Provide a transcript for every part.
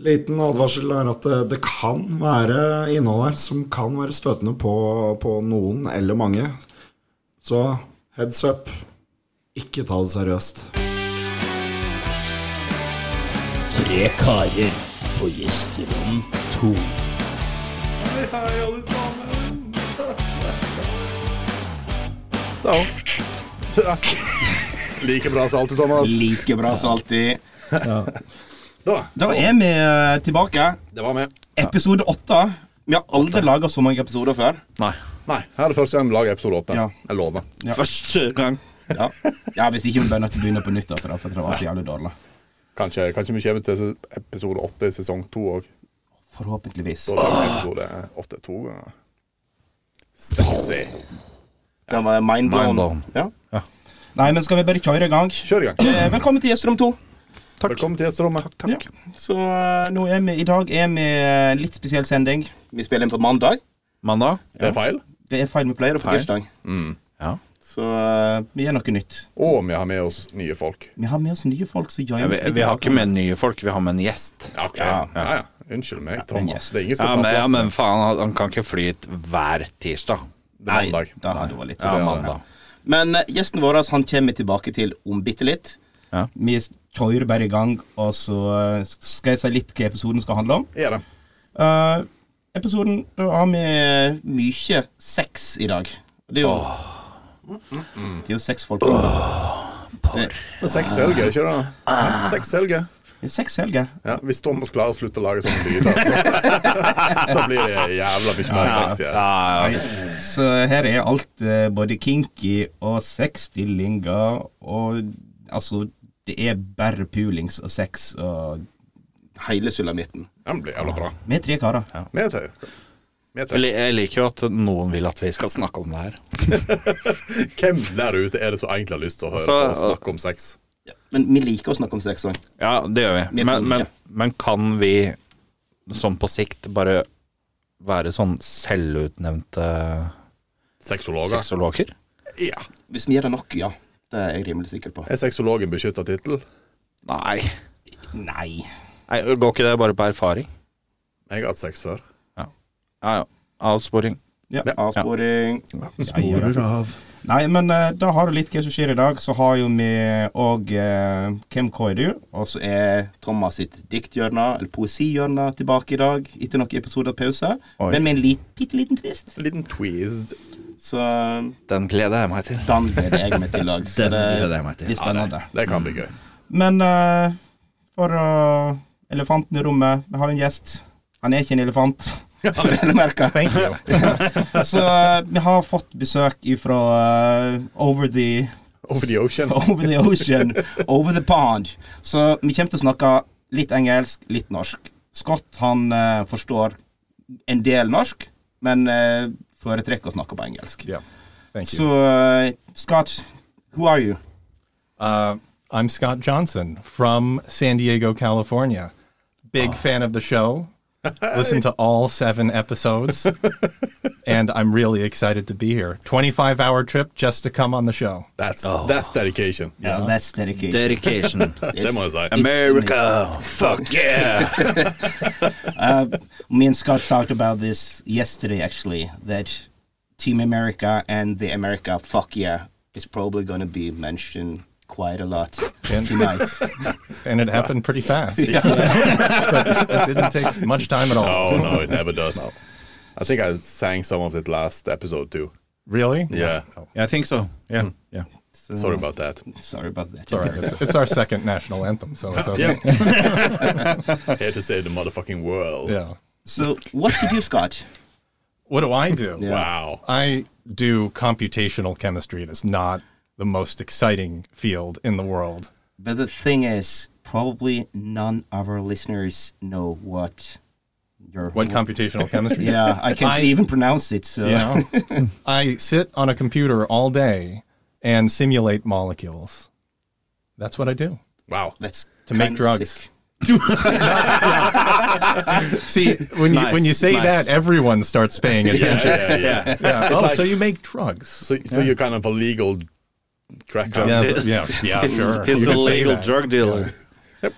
Liten advarsel er at eh, det, det kan være innhold her som kan være støtende på, på noen eller mange. Så heads up. Ikke ta det seriøst. Tre karer på gjesterom to. Sånn. Du, ja. Like bra som alltid, Thomas. Like bra som alltid. Da, Da er vi eh, tilbake. det var med. Episode åtte. Vi har aldri laga så mange episoder før. Nei. Nei, her er det første gang vi lager episode åtte. Ja. Jeg lover. Ja. Første gang. Ja. ja, Hvis ikke vi bare nødt til å begynne på nytt, etter det, for det var så jævlig dårlig. Kanskje, kanskje vi kommer til episode åtte i sesong to òg. Forhåpentligvis. Da lager vi episode åtte to ganger. Sexy. Det var mindblown. Mindblown. Ja. Nei, men skal vi bare kjøre i gang? Kjør i gang. Eh, Velkommen til gjesterom to. Velkommen til gjesterommet. Ja. Så eh, nå er vi, i dag er vi eh, litt spesiell sending. Vi spiller inn på mandag. Mandag. Det er feil. Det er feil vi pleier å få Feil. tirsdag. Ja. Så eh, vi gjør noe nytt. Og vi har med oss nye folk. Vi har med oss nye folk som gjør Ja, vi, oss litt Eh, vi har ikke glad. med nye folk, vi har med en gjest. Ja, ok. Ja. Ja, ja. Unnskyld meg, Thomas. gjest. Det er ingen som Ja, skal men, ta ja, men plass. faen, han- han kan ikke fly hit hver tirsdag. Det er mandag. Nei, da hadde det vært litt Ja, sånn. mandag. Men eh, gjesten vår han kommer tilbake til om bitte litt. Ja. Vi s- kjører bare i gang, og så eh, skal jeg si litt hva episoden skal handle om. Er det? Eh, episoden da har vi mye sex i dag. Det er jo, det er jo sex folk det, Men seks helger, ikke det? Hæ? Seks helger. det er Eh, sex helger. Ja, hvis Thomas klarer å slutte å lage sånne lyder, så, så blir det jævla mye mer sexy. Ja, ja. Så her er alt eh, både kinky og sexstillinger og Altså, det er bare pulings og sex og Hele sulamitten. Den blir jævla bra. Vi er tre karer. Med tau. Med Jeg tau. li- Jeg liker jo at noen vil at vi skal snakke om det her. Hvem der ute er det som egentlig har lyst til å høre Så- og snakke om sex? Men vi liker å snakke om sex òg. Ja, det gjør Vi vi. får Men, men, ikke. men kan vi sånn på sikt bare være sånn selvutnevnte Sexologer? sexologer? Ja. Hvis vi gjør det nok, ja. Det er jeg rimelig sikker på. Er sexolog en beskytta tittel? Nei. Nei. Nei. Går ikke det bare på erfaring? Jeg har hatt sex før. Ja, ja. Avsporing. Ja, avsporing. Sporer av. Nei, men eh, da har du litt hva som skjer i dag. Så har jo vi òg eh, Hvem K er du? Og så er Thomas sitt dikthjørne, eller poesihjørne, tilbake i dag. Etter noen episoder pause. Oi. Men med en lit, bitte liten twist. En liten tweezed. Så den Den gleder jeg meg til. gleder jeg meg til i dag. Så Den det gleder jeg meg til. blir spennende. Det kan bli gøy. Men eh, for å Elefanten i rommet, vi har jo en gjest. Han er ikke en elefant. Vel å merke. Så eh, vi har fått besøk ifra eh, Over the Over the ocean. Over the ocean, over the pond. Så vi kommer til å snakke litt engelsk, litt norsk. Scott han eh, forstår en del norsk, men eh, foretrekker å snakke på engelsk. Yeah. Thank you. Så eh, Scott, who are you? Uh, I'm Scott Johnson from San Diego, California. Ah. Big fan of the show. Listen to all seven episodes. and I'm really excited to be here. 25 hour trip just to come on the show. That's, that's dedication. Yeah, that's dedication. Dedication. Det må jeg si. America, fuck yeah! me and Scott talked about this yesterday, actually, that Team America and the America fuck yeah is probably going to be mentioned quite a lot tonight. And it happened pretty fast. but it didn't take much time at all. Oh no, it never does. I think I sang some of it last episode too. Really? Yeah. Hmm. I think so. Yeah. Yeah. Sorry about that. Sorry about that. All right. It's, it's our second national anthem, so it's Yeah. okay. Here to save the motherfucking world. Yeah. So, what you do, Scott? What do I do? Yeah. Wow. I do computational chemistry. It is not the most exciting field in the world. But the thing is, probably none of our listeners know what your What computational chemistry is? Yeah, I can't I- even pronounce it. So, You know? I sit on a computer all day and simulate molecules. That's what I do. Wow. that's To make kinda drugs. sick. See, when you when you say nice. that, everyone starts paying Yeah, attention. yeah, yeah. Yeah. Oh, like- so you make drugs? So, so you're kind of a legal crack house. yeah, yeah, sure. He's You a could say legal that. drug dealer.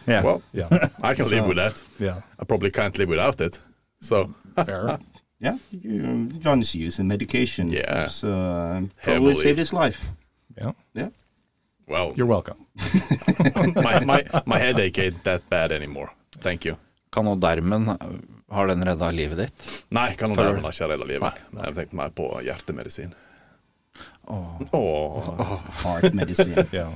Yeah. Well, Yeah. I can live with that. Yeah. I probably can't live without it. So Fair. Yeah, you- John's using medication. Yeah. So um, Heavily. probably save his life. Yeah. Yeah. well, You're welcome. my, my, my headache ain't that bad anymore. Thank you. Kan og dermen eh, Har den redda livet ditt? Nei, kan Føler kanondamen du? har ikke redda livet. Men jeg tenkte meg på hjertemedisin. Åh. Åh. Hard medicine. Yeah.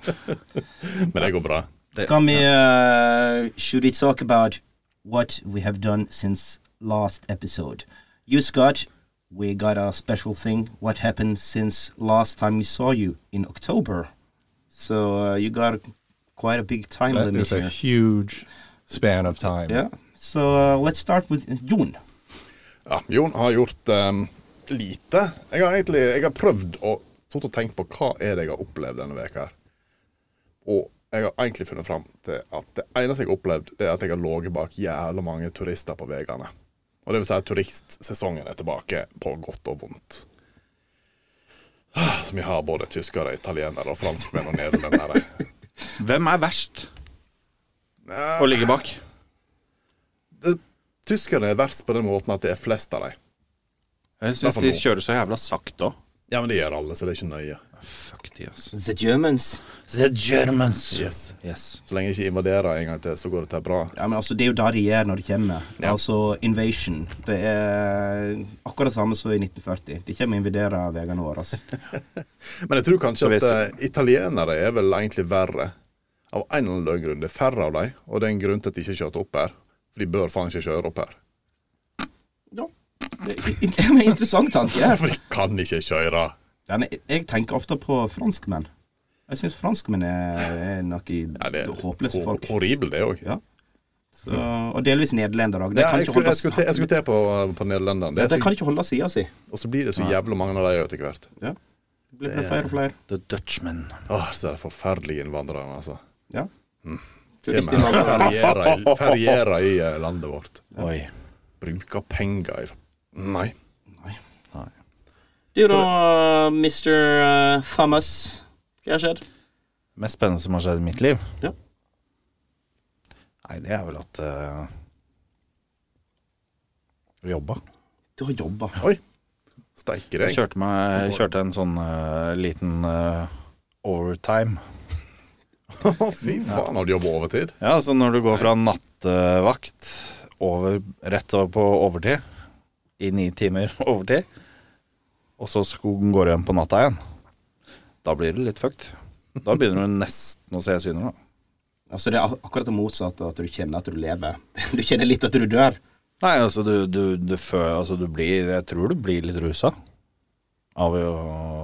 Men det går bra. Skal vi uh, Should we talk about what we have done since last episode? You, Scott, we got a special thing. What happened since last time we saw you in October? So uh, you got quite a big time That limit is a here. huge span of time. Yeah. So uh, let's start with Jon. Ja, Jon har gjort ehm, lite. Jeg har egentlig jeg har prøvd å stort og tenkt på hva er det jeg har opplevd denne veka her. Og jeg har egentlig funnet fram til at det eneste jeg har opplevd, det er at jeg har ligget bak jævla mange turister på veiene. Og det vil si at turistsesongen er tilbake på godt og vondt. Ah, Som vi har både tyskere, italienere, og franskmenn og nederlendere. Hvem er verst å ligge bak? Det- Tyskerne er verst på den måten at det er flest av dem. Jeg syns de kjører så jævla sakte òg. Ja, men det gjør alle, så det er ikke nøye. Fuck de, ass. The Germans. The Germans. Yes. Yes. Så lenge jeg ikke invaderer en gang til, så går dette bra. Ja, men altså, Det er jo det de gjør når de kommer. Ja. Altså invasion. Det er akkurat det samme som i 1940. De kommer og invaderer veiene våre. Altså. Men jeg tror kanskje Så vi at eh, italienere er vel egentlig verre. Av en eller annen grunn. Det er færre av dem, og det er en grunn til at de ikke kjørte opp her. For de bør faen ikke kjøre opp her. Ja. Det er en interessant tanke. For de kan ikke kjøre. Ja, men jeg tenker ofte på franskmenn. Jeg syns franskmenn er, er noe Ja, det er håpløse hor- folk. horribel, det òg. Ja. Så, og delvis nederlendere òg. De Ja, kan jeg ikke skulle holde jeg skulle til- jeg skulle til på, på nederlenderne. ja, Det de er kan så- ikke holde sida si. Og så blir det så jævla mange av dem etter hvert. Ja. Det blir bare flere og flere. The Dutchman. Åh, så er det forferdelige innvandrere, altså. Ja. Kommer her og ferierer i- Ferierer i eh, landet vårt. Oi. Bruker penger i Nei. Du da, Mr. Thomas. Hva har skjedd? Mest spennende som har skjedd i mitt liv? Ja. Nei, det er vel at uh, Jobba. Du har jobba. Steike Jeg deg. kjørte, meg, jeg kjørte en sånn eh, liten eh, overtime. Å, Fy faen, har du jobba overtid? Ja, så når du går fra nattevakt over, rett over på overtid, i ni timer overtid, og så skogen går igjen på natta igjen, da blir det litt fucked. Da begynner du nesten å se syner, da. Altså Det er ak- akkurat det motsatte, at du kjenner at du lever. Du kjenner litt at du dør. Nei, altså du, du, du fø- altså du blir Jeg tror du blir litt rusa av å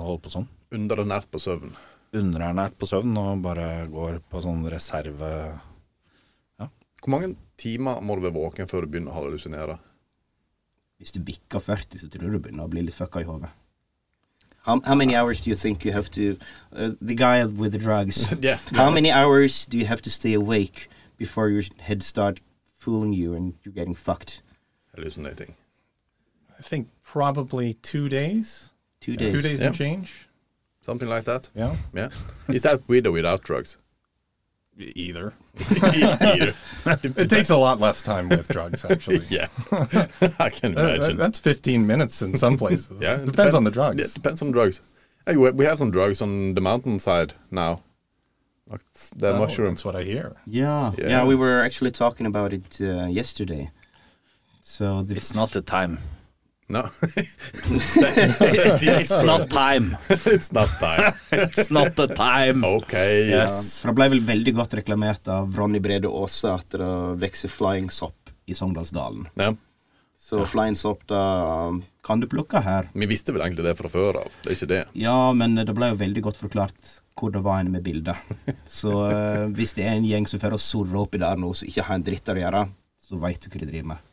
holde på sånn. Underernært på søvn. Underernært på søvn og bare går på sånn reserve... Hvor mange timer må du være våken før du begynner å hallusinere? Hvis du bikker 40, så tror jeg du begynner å bli litt fucka i hodet. How, how many hours do you think you have to uh, The guy with the drugs. Yeah. How many hours do you have to stay awake before your head start fooling you and you're getting fucked? Hallucinating. I think probably two days. Two days. Two days Yeah. and change. Something like that? Yeah. Yeah. Is that with or without drugs? E-, Either. Either. It takes a lot less time with drugs, actually. Yeah. I can That- that- imagine. that's 15 minutes in some places. Yeah, eh, depend- depends, on the Yeah, drugs. depends on drugs. Hey, we we have some drugs on the mountainside now. Like s- the Oh, mushrooms. That's what I hear. Yeah. yeah. Yeah. we were actually talking about it uh, yesterday. So the It's not the time. No, It's not time. it's not that. It's not the time. Okay. Yes. um, For det ble vel veldig godt reklamert av Ronny Brede Aase at det vokser flying sopp i Sogndalsdalen. Ja. Så flying sopp, da um, kan du plukke her. Vi visste vel egentlig det fra før av. Det er ikke det. Ja, men det ble jo veldig godt forklart hvor det var en med bilder. Så eh, hvis det er en gjeng som får å surre oppi der nå, som ikke har en dritt der å gjøre, så veit du hva de driver med.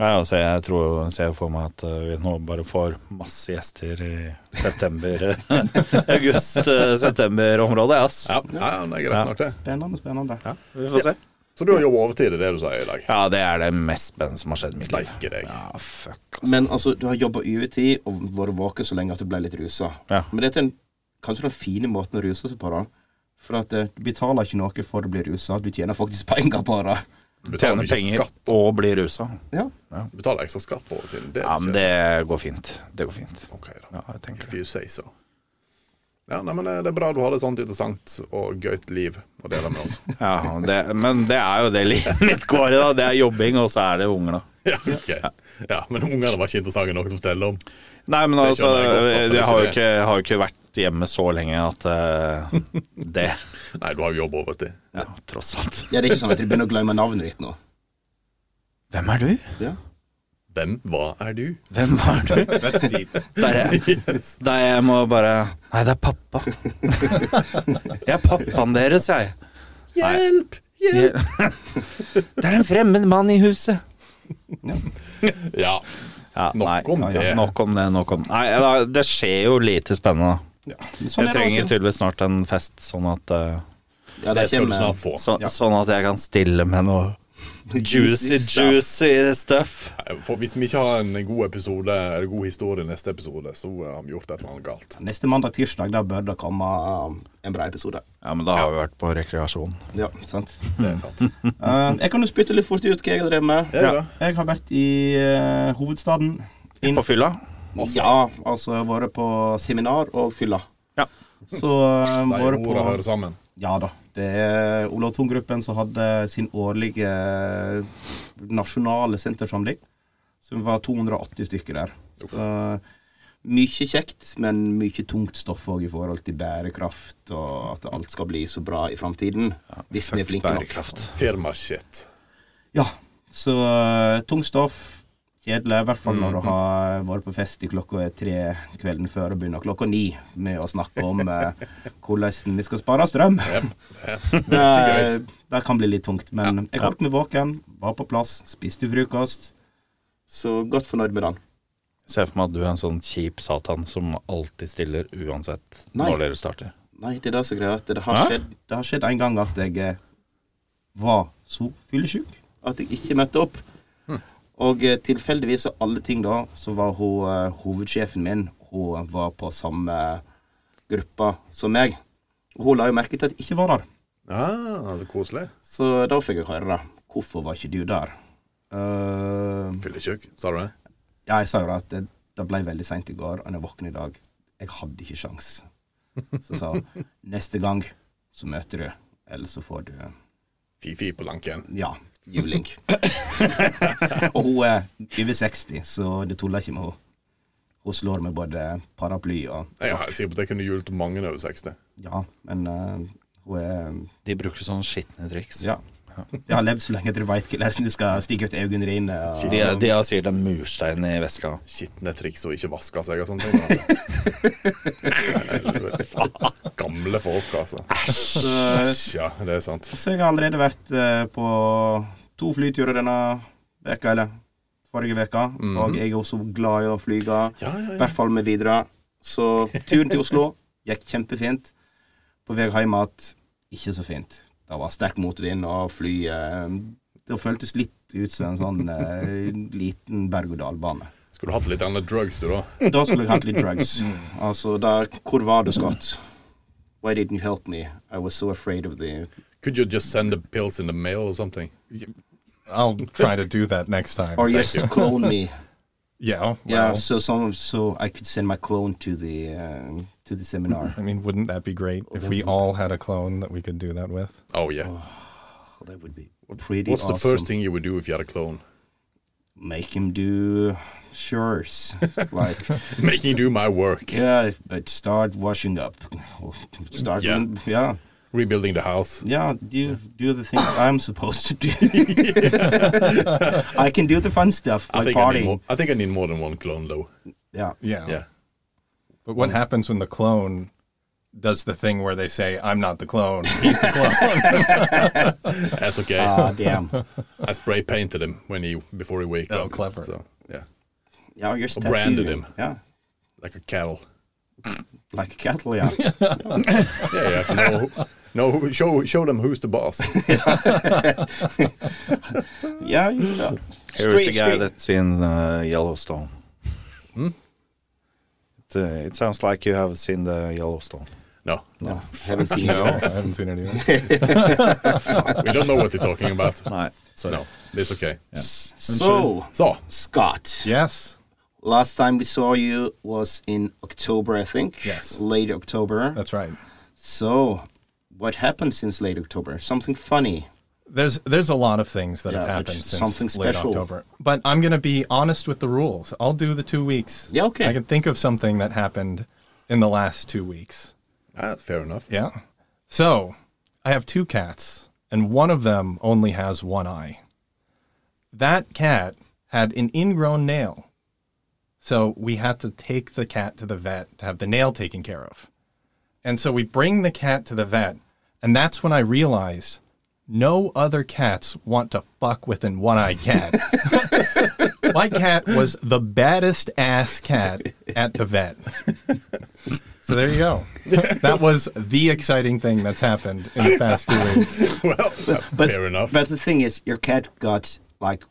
Ja, altså, jeg tror jeg ser for meg at eh, vi nå bare får masse gjester i september August-september-området, ass. Ja, ja men det er Ja. greit nok, det. Spennende, spennende. Vi får se. Så du har jobba overtid, det er det du sier i dag? Ja, det er det mest spennende som har skjedd i mitt liv. Steike deg. Ja, fuck, ass. Men altså, du har jobba overtid og vært våken så lenge at du ble litt rusa. Ja. Men det er den, kanskje den fine måten å ruse seg på, da. For at eh, du betaler ikke noe for å bli rusa, du tjener faktisk penger på det. Du betaler Tjene mye penger skatt. og bli rusa. Ja. Du betaler ekstra skatt på overtiden. Det er Ja, men ikke- det går fint. Det går fint. Ok, da. Ja, jeg tenker If det. you say so. Ja, nei, men eh, det det er bra du har et sånt interessant og gøyt liv å dele med oss. Ja, det, men det er jo det livet mitt går i, da. Det er jobbing, og så er det unger, da. Ja, ok. ja, Men ungene var ikke interessante nok til å fortelle om. Nei, men altså, skjønner jeg godt, altså, det jeg har jo skjønner ikke, har jo ikke vært hjemme så lenge at eh, det Nei, du har jo jobb overtid. ja, Tross alt. ja, det er ikke sånn at de begynner å glemme navnet ditt nå. Hvem er du? Ja. Hvem, hva er du? Hvem var du? That's deep. Der jeg, der jeg må bare Nei, det er pappa. Jeg er pappaen deres, jeg. Hjelp! Jeg- Det er en fremmed mann i huset. Ja. Ja, Nok nei, om ja, ja, det. Nok om det. Nok om Nei, da, det skjer jo lite spennende. da. Men Jeg Sånn er det av og trenger til. tydeligvis snart en fest, sånn at, eh, ja, Det skal du kommer- snart få. så, sånn at jeg kan stille med noe juicy, juicy stuff. Nei, For hvis vi ikke har en god episode Eller god historie i neste episode, så eh, har vi gjort et eller annet galt. Neste mandag, tirsdag, der bør det komme um, en bra episode. Ja, men da har vi vært på rekreasjon. Ja, sant. Det er sant. Eh, jeg kan jo spytte litt fort ut hva jeg har drevet med. Ja, ja. Jeg har vært i eh, hovedstaden. Inn- På fylla? Ja, altså jeg har vært på seminar og fylla. Ja. Så eh, De vært ordene på hører sammen. Ja da. Det er Olav Thon-gruppen som hadde sin årlige nasjonale sentersamling. Som var 280 stykker der. Så mye kjekt, men mye tungt stoff òg i forhold til bærekraft og at alt skal bli så bra i framtiden. hvis vi er flinke nok. Bærekraft. Firmashit. Ja, så eh, tungt stoff. Kjedelig, i hvert fall når du har vært på fest i klokka er tre kvelden før og begynner klokka ni med å snakke om eh, hvordan vi skal spare strøm. det, det kan bli litt tungt, men jeg holdt meg våken, var på plass, spiste frokost. Så godt fornøyd med den. Se for meg at du er en sånn kjip satan som alltid stiller uansett Nei. når dere starter. Nei, det er det som er greia. at Det har Hæ? skjedd, det har skjedd en gang at jeg eh, var så fyllesyk at jeg ikke møtte opp. Og eh, tilfeldigvis av alle ting da, så var hun eh, hovedsjefen min Hun var på samme gruppa som meg. Hun la jo merke til at jeg ikke var der. Ah, så koselig. Så da fikk jeg høre Hvorfor var ikke du der? Eh, Fylletjukk, sa du det? ja, jeg sa jo da at det, det ble veldig seint i går, og når jeg våkner i dag Jeg hadde ikke sjans. Så sa hun neste gang så møter du, eller så får du Fifi på lanken. Ja, juling. og hun er over 60, så det tuller ikke med henne. Hun slår med både paraply og Jeg er helt sikker på at jeg kunne hjulpet mange over 60. Ja, men eh, hun er De bruker sånne skitne triks. Ja. Jeg har levd så lenge at du veit hvordan de skal stikke ut øyenrynene. og- De, de har sikkert en murstein i veska. Skitne triks og ikke vaske seg og sånne ting. Helvete. Gamle folk, altså. Så- Ja, det er sant. Så jeg har allerede vært eh, på to flyturer denne veka, eller forrige veka. Og jeg er også glad i å flyge. Ja, ja, I ja. hvert fall med videre. Så turen til Oslo gikk kjempefint. På vei hjem igjen ikke så fint. Det var sterk motvind, og flyet eh, Det føltes litt ut som en sånn eh, liten berg-og-dal-bane. Skulle du hatt litt annet drugs, du, da? Da skulle jeg hatt litt drugs. Altså, da Hvor var du, Scott? Why didn't you help me? I was so afraid of the Could you just send the pills in the mail or something? I'll try to do that next time. Or just clone me. yeah. Well, Yeah, so some, so I could send my clone to the uh, to the seminar. I mean, wouldn't that be great if we all had a clone that we could do that with? Oh, yeah. Well, that would be pretty What's the awesome. first thing you would do if you had a clone? Make him do chores, like Making you do my work. yeah, if- but start washing up, Or start Yeah. yeah, Rebuilding the house. yeah, do do the things I'm supposed to do. I can do the fun stuff I like think I, need partying. more, I think I need more than one clone, though. Yeah, Yeah. Yeah. But what happens when the clone does the thing where they say, I'm not the clone, he's the clone? That's okay. ah, damn. I spray painted him when he before he waked Oh, up. clever. So, yeah, Yeah, you're tattooing branded him. Yeah, like a cattle. like a cattle. Yeah, Yeah, yeah. No, who- no. who- Show show them who's the boss. yeah, you do that. Here's a Street- guy street- that's in uh, Yellowstone. It, uh, it sounds like you have seen the Yellowstone. No. No, haven't seen No, I it. haven't seen any of that. We don't know what you're talking about. Nei. Sorry. No, it's okay. So, So, Scott, Yes. last time we saw you was in October, I think. Yes. Uh, Late October. That's right. so, what happened since late October? Something funny. There's there's a lot of things that Yeah, have happened it's since something late special. October. But I'm gonna be honest with the rules. I'll do the two weeks. Yeah, okay. I can think of something that happened in the last two weeks. ah, fair enough. Yeah. So I have two cats, and one of them only has one eye. That cat had an ingrown nail. So we had to take the cat to the vet to have the nail taken care of. And so we bring the cat to the vet, and that's when I realized no other cats want to fuck with an one eyed cat. My cat was the baddest ass cat at the vet. So there you go. that was the exciting thing that's happened in the past few weeks. Well, But, fair enough. But the thing is, your cat got like.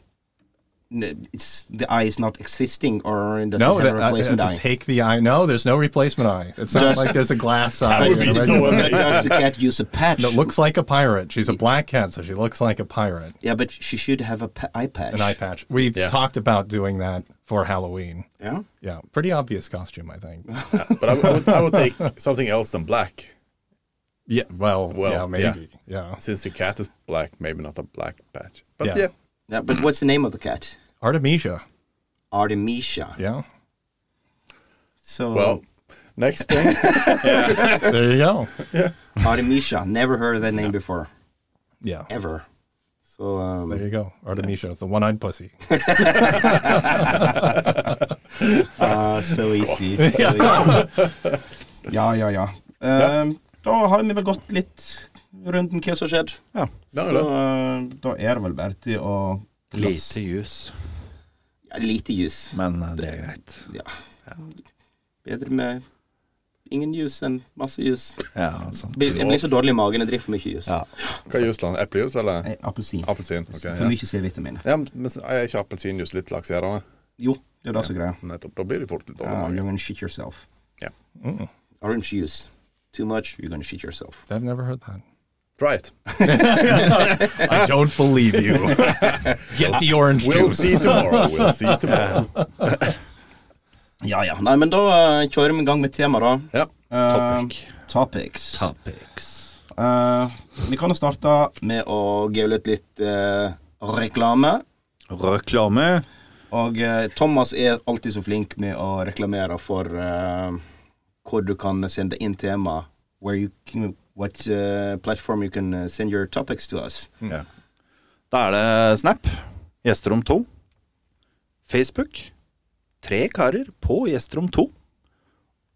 n- It's the eye is not existing, or it doesn't No, have that, a I, I had replacement to eye. take the eye. No, there's no replacement eye. It's not Does- like there's a glass eye. would and be a so regular- amazing. Does the cat use a patch? It looks like a pirate. She's a black cat, so she looks like a pirate. yeah, but she should have a pa- eye patch. An eye patch. We've Yeah. talked about doing that for Halloween. Yeah. Yeah, pretty obvious costume, I think. But I, I, would, I would take something else than black. Yeah, well, Well, yeah, yeah. maybe. Yeah. Since the cat is black, maybe not a black patch. But Yeah. yeah, yeah. But what's the name of the cat? Artemisia. Artemisia. Yeah. So well, next thing. There you go. Artemisia. Never heard of that name before, Yeah. ever. So There um, you go. Artemisia, the one eyed pussy. ah, so easy. So easy. ja, ja, ja. Um, da har vi vel gått litt rundt om hva som har skjedd. det Så er det. eh, da er det vel bare til å Lite jus, Ja, lite jus. men eh, det er greit. Bedre med ingen jus enn masse jus. Ja, sant. Blir- Jeg blir så dårlig i magen, jeg driver for mye jus. Ja. Hva er jusland? Eplejus eller Eh, Appelsin. appelsin? Ok, For ja. mye C-vitamin. Ja, men så er ikke appelsinjuice litt lakserende? Jo, det er det som er greia. Nettopp. Da blir det fort litt dårlig Uh, you're mage. gonna shit yourself. Yeah. Orange juice. Too much, you're gonna shit yourself. I've never heard that. Try it. I don't believe you. Get the orange We'll see tomorrow. We'll see tomorrow. Ja, ja. Nei, men da eh, kjører vi i gang med tema, da. Ja. Eh, Topic. Ehm, topics. Topics. Eh, vi kan jo starte med å gaule ut litt eh, reklame. Reklame. Og eh, Thomas er alltid så flink med å reklamere for eh, hvor du kan sende inn tema. Where you can, what eh, platform you can eh, send your topics to us. Da er det Snap, Gjesterom 2, Facebook, tre karer på Gjesterom 2.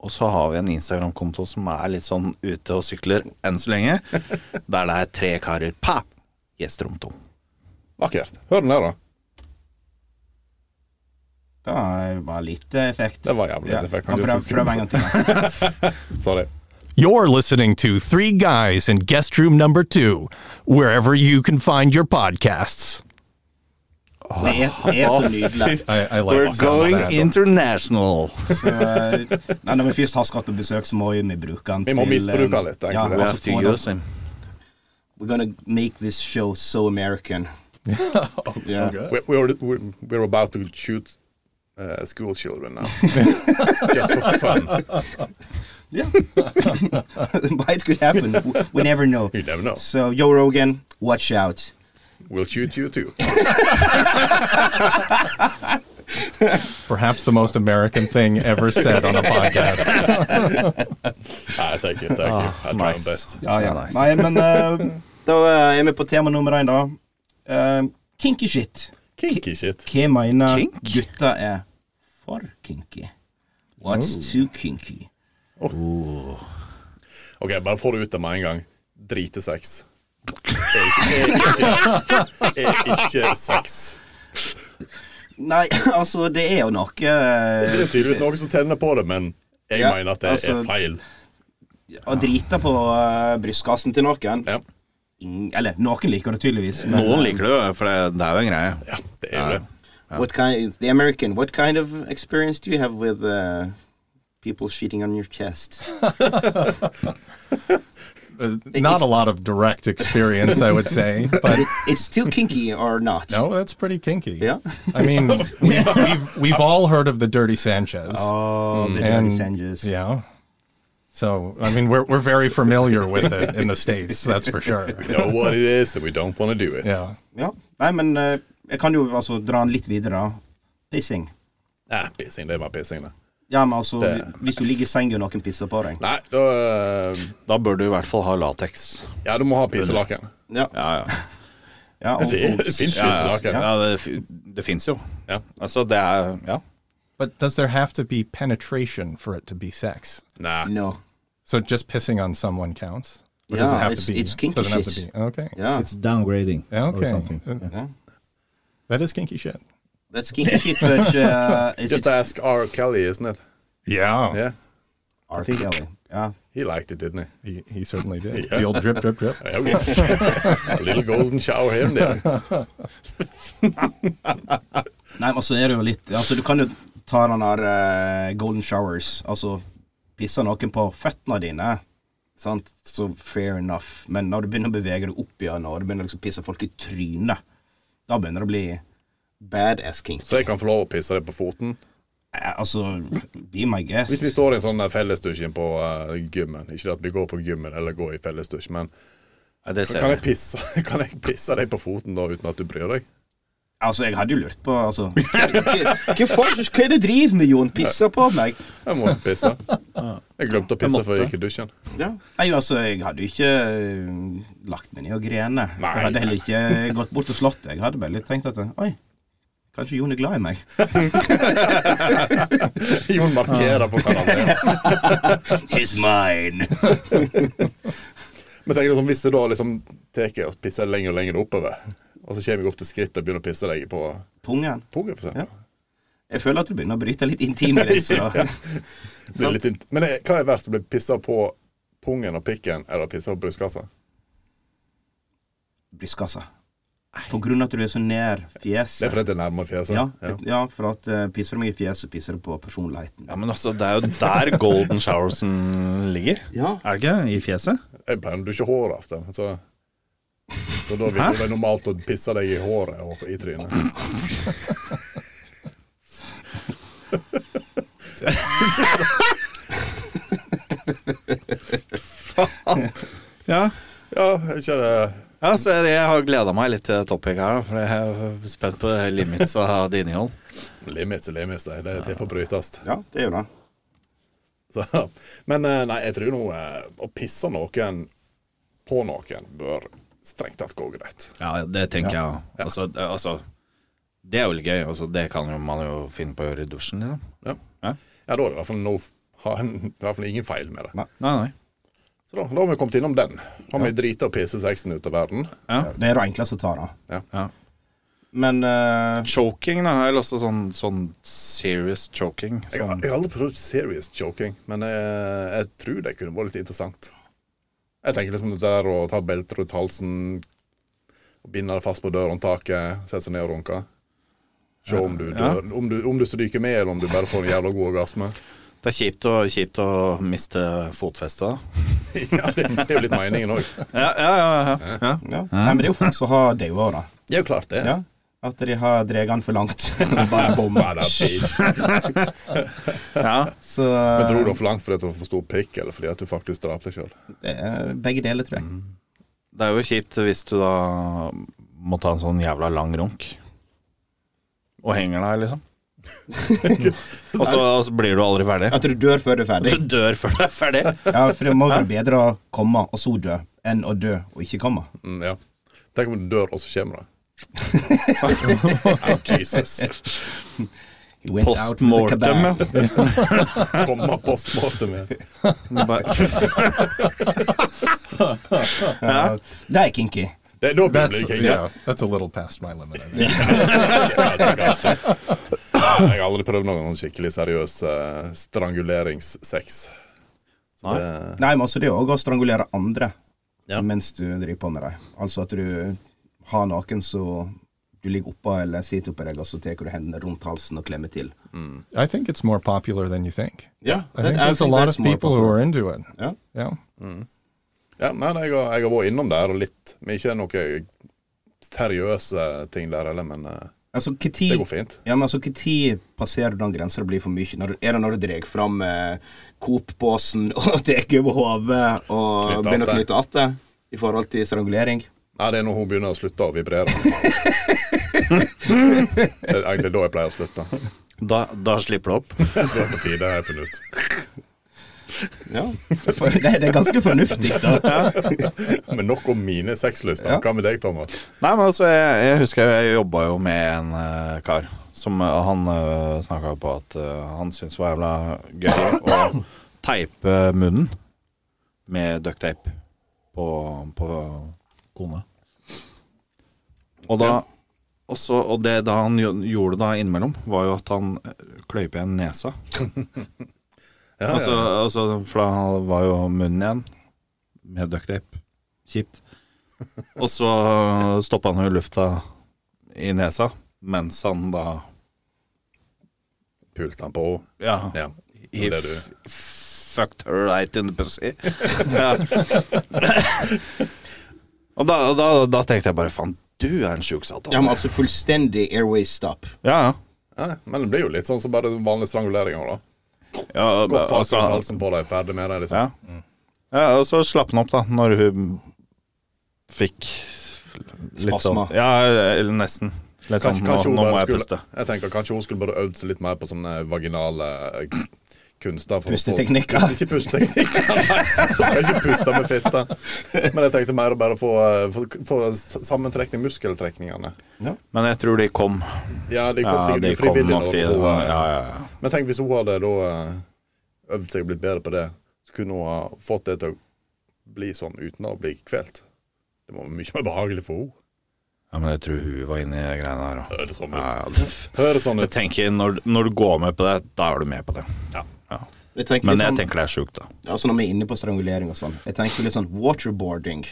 Og så har vi en Instagram-konto som er litt sånn ute og sykler enn så lenge, der det er tre karer pa Gjesterom 2. Vakkert. Hør den der, da. Det var lite effekt. Det var jævlig lite effekt, Ja, kanskje prøv, jeg skulle- prøv en gang til. Sorry. You're listening to Three Guys in Guest Room Number Two, wherever you can find your podcasts. Det er, det er så nydelig. I, I like We're some of going that. international. Så, eh, nei, når vi først har Scott på besøk, så må jo vi bruke han Vi må til, misbruke eh, han litt, egentlig. Ja, We We altså, have to få det- use him. We're gonna make this show so American. yeah. We, we were, we, we're about to shoot uh, school children now. Just for fun. Yeah. But it could happen. W- We never know. You never know. So, Joe Rogan, watch out. We'll shoot you too. Perhaps the most American thing ever said on a podcast. Ah, thank you, thank you. I try my nice. best. Ja, ja. Nice. Nei, Uh, men eh, da eh, er vi på tema nummer én, da. Eh, kinky shit. Kinky shit. Hva mener Kink? gutta er for kinky? What's too kinky? Ok, bare få det ut av meg en gang. Drite sex. Er ikke, er ikke, er ikke sex. Nei, altså, det er jo noe eh, Det er tydeligvis noen som tenner på det, men jeg Ja, mener at det altså- er feil. Å drite på eh, brystkassen til noen Ja. Ing- Eller noen liker det tydeligvis. Men, Noen liker det, jo, for det, det er jo en greie. ja, det er jo det. What kind, the American, what kind of experience do you have with uh, people cheating on your chest. Uh, Not a lot of direct experience, I would say, but It's still kinky or not? no, that's pretty kinky. Yeah. I mean, we've, we've, we've all heard of the Dirty Sanchez. Oh, the dirty And- Sanchez. Yeah. So, I mean, we're, we're very familiar with it in the States, that's for sure. We know what it is, and we don't want to do it. Yeah. Ja. Nei, men eh, jeg kan jo altså dra den litt videre. da. Pissing. Nei, pissing, det er bare pissing, det. Ja, men altså, Det- hvis du ligger i senga og noen pisser på deg. Nei, da øh, Da bør du i hvert fall ha lateks. Ja, du må ha pisselaken. Ja, Ja, ja. ja, og, Det fins pisselaken. ja det, fi- det fins jo. Ja. Altså, det er Ja. But does there have to be penetration for it to be sex? Nei. No. So just pissing on someone counts? Or does Yeah, it have it's- to be? it's kinky doesn't have to shit. be. Okay. Ja. It's downgrading Yeah, or okay. something. Uh, ja. That is kinky shit. That's kinky shit, but uh, is Just it ask R. Kelly, isn't it? Yeah. Yeah. R. Kelly? Ja. He liked it, didn't he? He, he certainly did. The old drip, drip, drip. Yeah, we- A little golden shower here and there. Nei, men altså er det jo litt Altså, du kan jo ta den der eh, golden showers. Altså, pisser noen på føttene dine, sant, så fair enough. Men når du begynner å bevege deg opp igjen, og du begynner liksom å pisse folk i trynet, da begynner det å bli badass kink. Så jeg kan få lov å pisse deg på foten. Eh, altså, be my guest. Hvis vi står i en sånn der fellesdusj inne på eh, gymmen Ikke at vi går på gymmen eller går i fellesdusj, men Nei, det ser kan jeg, jeg. pisse, kan jeg pisse deg på foten da uten at du bryr deg? Altså, jeg hadde jo lurt på altså, hva, hva, hva, faen- hva er det du driver med, Jon? Pisser på meg? Jeg må pisse. Jeg glemte å pisse før jeg gikk i dusjen. Ja. Nei, altså, jeg hadde jo ikke eh, lagt meg ned og grene. jeg hadde heller ikke eh, gått bort og slått deg. Jeg hadde bare litt tenkt at eh, oi, kanskje Jon er glad i meg. Jon markerer på hverandre. He's mine. Men tenk liksom, hvis du da liksom tar og pisser lenger og lenger oppover, og så kommer jeg opp til skrittet og begynner å pisse deg på Pungen. pungen, for eksempel. Jeg føler at du begynner å bryte litt intimgrenser. Det blir litt int- Men eh, hva er verst, å bli pissa på pungen og pikken eller pissa på brystkassa? Brystkassa. På grunn av at du er så nær Det er fjeset. fordi det er nærmere fjeset. Ja, ja, for at eh, pisser du meg i fjeset, så pisser du på personligheten. Ja, men altså, det er jo der golden showersen ligger. Ja. Er det ikke? I fjeset? Jeg pleier å dusje håret ofte. Så, så da vil det normalt å pisse deg i håret og i trynet. Ja. Ja, er ikke det Ja, så jeg, jeg har gleda meg litt til topic her, da, for jeg er spent på limits av det innhold. Limits er limits, det. Det er til for å brytes. ja, det er jo det. Så, men eh, nei, jeg tror nå eh, å pisse noen på noen bør strengt tatt gå greit. Ja, det tenker jeg òg. Altså, det- altså, det er jo litt gøy. Altså, det kan jo man jo finne på å gjøre i dusjen. Ja. Ja, da er det i hvert fall, no, ha en, i hvert fall ingen feil med det. Nei, nei. Så da, da har vi kommet innom den. Har vi drita og pisse sexen ut av verden? Det er det enkleste å ta, da. Ja. Ja. Men eh, Choking, da. Eller også sånn, sånn serious choking. Jeg, har- Sånn. jeg har aldri prøvd serious choking, men jeg, jeg tror det kunne vært litt interessant. Jeg tenker liksom det der å ta beltet rundt halsen, binde det fast på dørhåndtaket, sette seg ned og runke. Se om du Ja. dør, om du, om du stryker med, eller om du bare får en jævla god orgasme. Det er kjipt å, kjipt å miste fotfestet. da. ja, det, det er jo litt meningen òg. Ja, ja, ja. ja. ja. ja. Nei, men det er jo folk som har daua, da. Det er jo klart, det. Ja. At de har dreget den for langt. Bare bomba der, bitch. ja. Så Men tror du det var for langt fordi at du har for stor pikk, eller fordi at du faktisk drap deg sjøl? det er begge deler, tror jeg. Det er jo kjipt hvis du da må ta en sånn jævla lang runk. Og henger deg, liksom. og, så, og så blir du aldri ferdig. At du dør før du er ferdig. Du dør før du er ferdig. Ja, for det må være bedre å komme og så dø, enn å dø og ikke komme. Mm, ja. Tenk om du dør, og så kommer det. Nei, Jesus. He went out with a Postmortem, kebab. ja. Komme postmortem igjen. Ja. Det er kinky. Det, da blir That's, det kinky. yeah, that's a little past my limit. I think. altså. Jeg har aldri prøvd noen sånn skikkelig seriøs eh, stranguleringssex. Så Nei. det- Nei, men altså det er òg å strangulere andre Ja. mens du driver på med dem. Altså at du har noen som du ligger oppå eller sitter oppå deg, og så tar du hendene rundt halsen og klemmer til. I think it's more popular than you think. Ja, I think there's a lot of people who are into it. Ja. Yeah. Ja, nei, nei, jeg, har, jeg har vært innom der og litt. Men ikke noe seriøse ting der heller, men eh, Altså, hva det tid, går fint. ja, men altså, hva tid passerer du den grensa det blir for mye? Når, er det når du drar fram eh, Coop-båsen og tar over hodet og Knytte begynner å atter. knytte atter i forhold til strangulering? Nei, det er når hun begynner å slutte å vibrere. det er egentlig da jeg pleier å slutte. Da, da slipper det opp. Det er på tide, har jeg funnet ut. Ja, for, det, det er ganske fornuftig, da. Men nok om mine sexlyster. Ja. Hva med deg, Thomas? Nei, men altså, jeg, jeg husker jeg jobba jo med en eh, kar som eh, han uh, snakka på at eh, han syntes var jævla gøy å teipe munnen med duct tape på, på kona. Og da og så- og det da han gjo- gjorde da innimellom, var jo at han eh, kløyp igjen nesa. Ja, Altså, ja. altså, for da var jo munnen igjen med duct tape. Kjipt. Og så stoppa han jo lufta i nesa mens han da Pulte han på henne. Ja. Ja. He det er f- fucked her right in the pussy. ja. og da, da, da tenkte jeg bare faen, du er en sjuk satan. Ja, men altså fullstendig airway stop. ja, ja. Ja, men det blir jo litt sånn som bare vanlige stranguleringer, da. ja Godt tak altså, rundt halsen på deg, ferdig med deg, liksom. Ja. ja, og så slapp han opp da Når hun fikk litt Spasma. sånn- Ja, eller nesten Litt sånn, Kanskje, kanskje nå, hun nå må bare jeg skulle puste Jeg tenker kanskje hun skulle bare øvd seg litt mer på sånne vaginale eh, kunster. for å få- Pusteteknikker. Puste- Ikke pusteteknikker, nei. Jeg Skal ikke puste med fitte. Men jeg tenkte mer å bare få, eh, få, få sammentrekning muskeltrekningene. Men jeg tror de kom Ja, de kom Ja, sikkert de kom ufrivillig. nok til da, det og, var- eh, ja, ja, ja. Men tenk hvis hun hadde da eh, øvd seg og blitt bedre på det, så kunne hun ha fått det til å bli sånn uten å bli kvelt. Det må være mye mer behagelig for henne. ja, men jeg tror hun var inne i de greiene her også. Høres sånn ja, ut. ja, det- Høres sånn Jeg ut. tenker, når, når du går med på det Da er du med på det Jeg tenker Men litt jeg sånn- tenker det er sjukt da Altså når vi er inne på strangulering og sånn. Jeg tenker litt sånn waterboarding.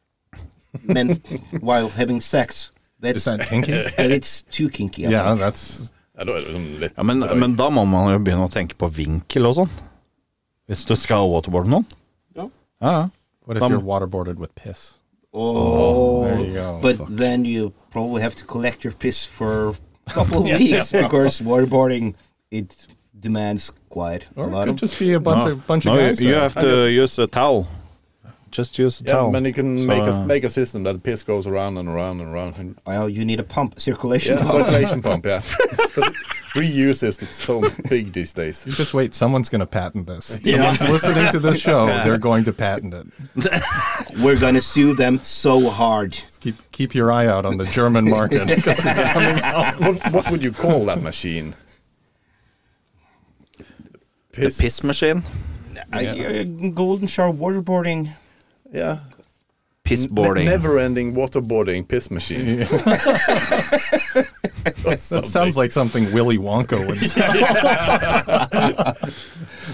Men while having sex. That's, Is that kinky? it's too kinky. I yeah, think. that's Ja, da er det sånn litt ja, men, men da må man jo begynne å tenke på vinkel og sånn Hvis du skal waterboard noen Ja. ja, ja. what if Um, you're waterboarded with piss? Oh, there you go. But Fuck. then you probably have to collect your piss for a couple of weeks because waterboarding it demands quite a Or it lot could of just be a bunch of bunch No, of you, guys. eh. you there. have to use a towel Just use a Yeah, towel but you can So, make, uh, a, make a system that piss goes around and around and around. Well, you need a pump, circulation. Yeah, pump. circulation pump, yeah. 'Cause reuse is so big these days. You just wait. Someone's going to patent this. Someone's listening to this show. They're going to patent it. We're gonna sue them so hard. Keep keep your eye out on the German market. 'cause it's coming out. What, what would you call that machine? The piss machine I- uh, golden shower waterboarding. Yeah. Pissboarding Never-ending waterboarding piss machine. That sounds like something Willy Wonka would say.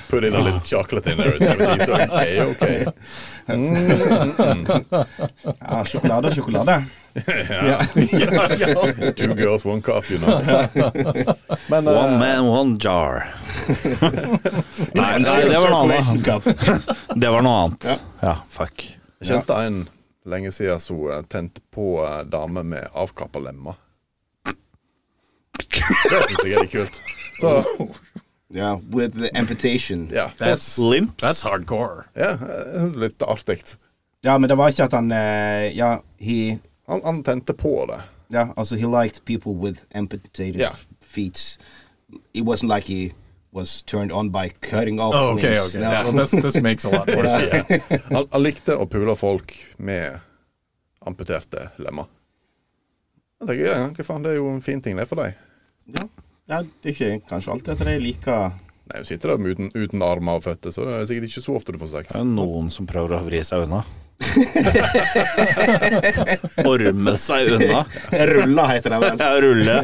Put in a little chocolate in there. It's everything's okay, okay. Ja, sjokolade og sjokolade. Two girls, one cup, you know. Men, eh, One man, one jar. nei, nei, det var noe annet. Det var noe annet. Ja, fuck. Jeg kjente en lenge siden som eh, tente på eh, dame med avkappa lemmer. Det syns jeg er litt kult. Så Yeah, with the amputation. ja, folk, That's Limps. that's hardcore. ja jeg synes det er litt artig. Ja, men det var ikke at han eh, Ja, he Han, han tente på det. Ja, altså, he liked people with amputated Ja. feet. It wasn't like he was turned on by cutting off Oh, okay, limbs. okay. No. Well, this this makes a lot more sense. Han, han likte å pule folk med amputerte lemmer. Jeg tenker, ja, hva faen, Det er jo en fin ting, det, for deg. Ja, det er ikke kanskje alltid at de liker Nei, Hun sitter der med uten, uten armer og føtter, så det er sikkert ikke så ofte du får sex. Det er noen som prøver å vri seg unna. Orme seg unna. Rulla, heter det vel. Ja, rulle.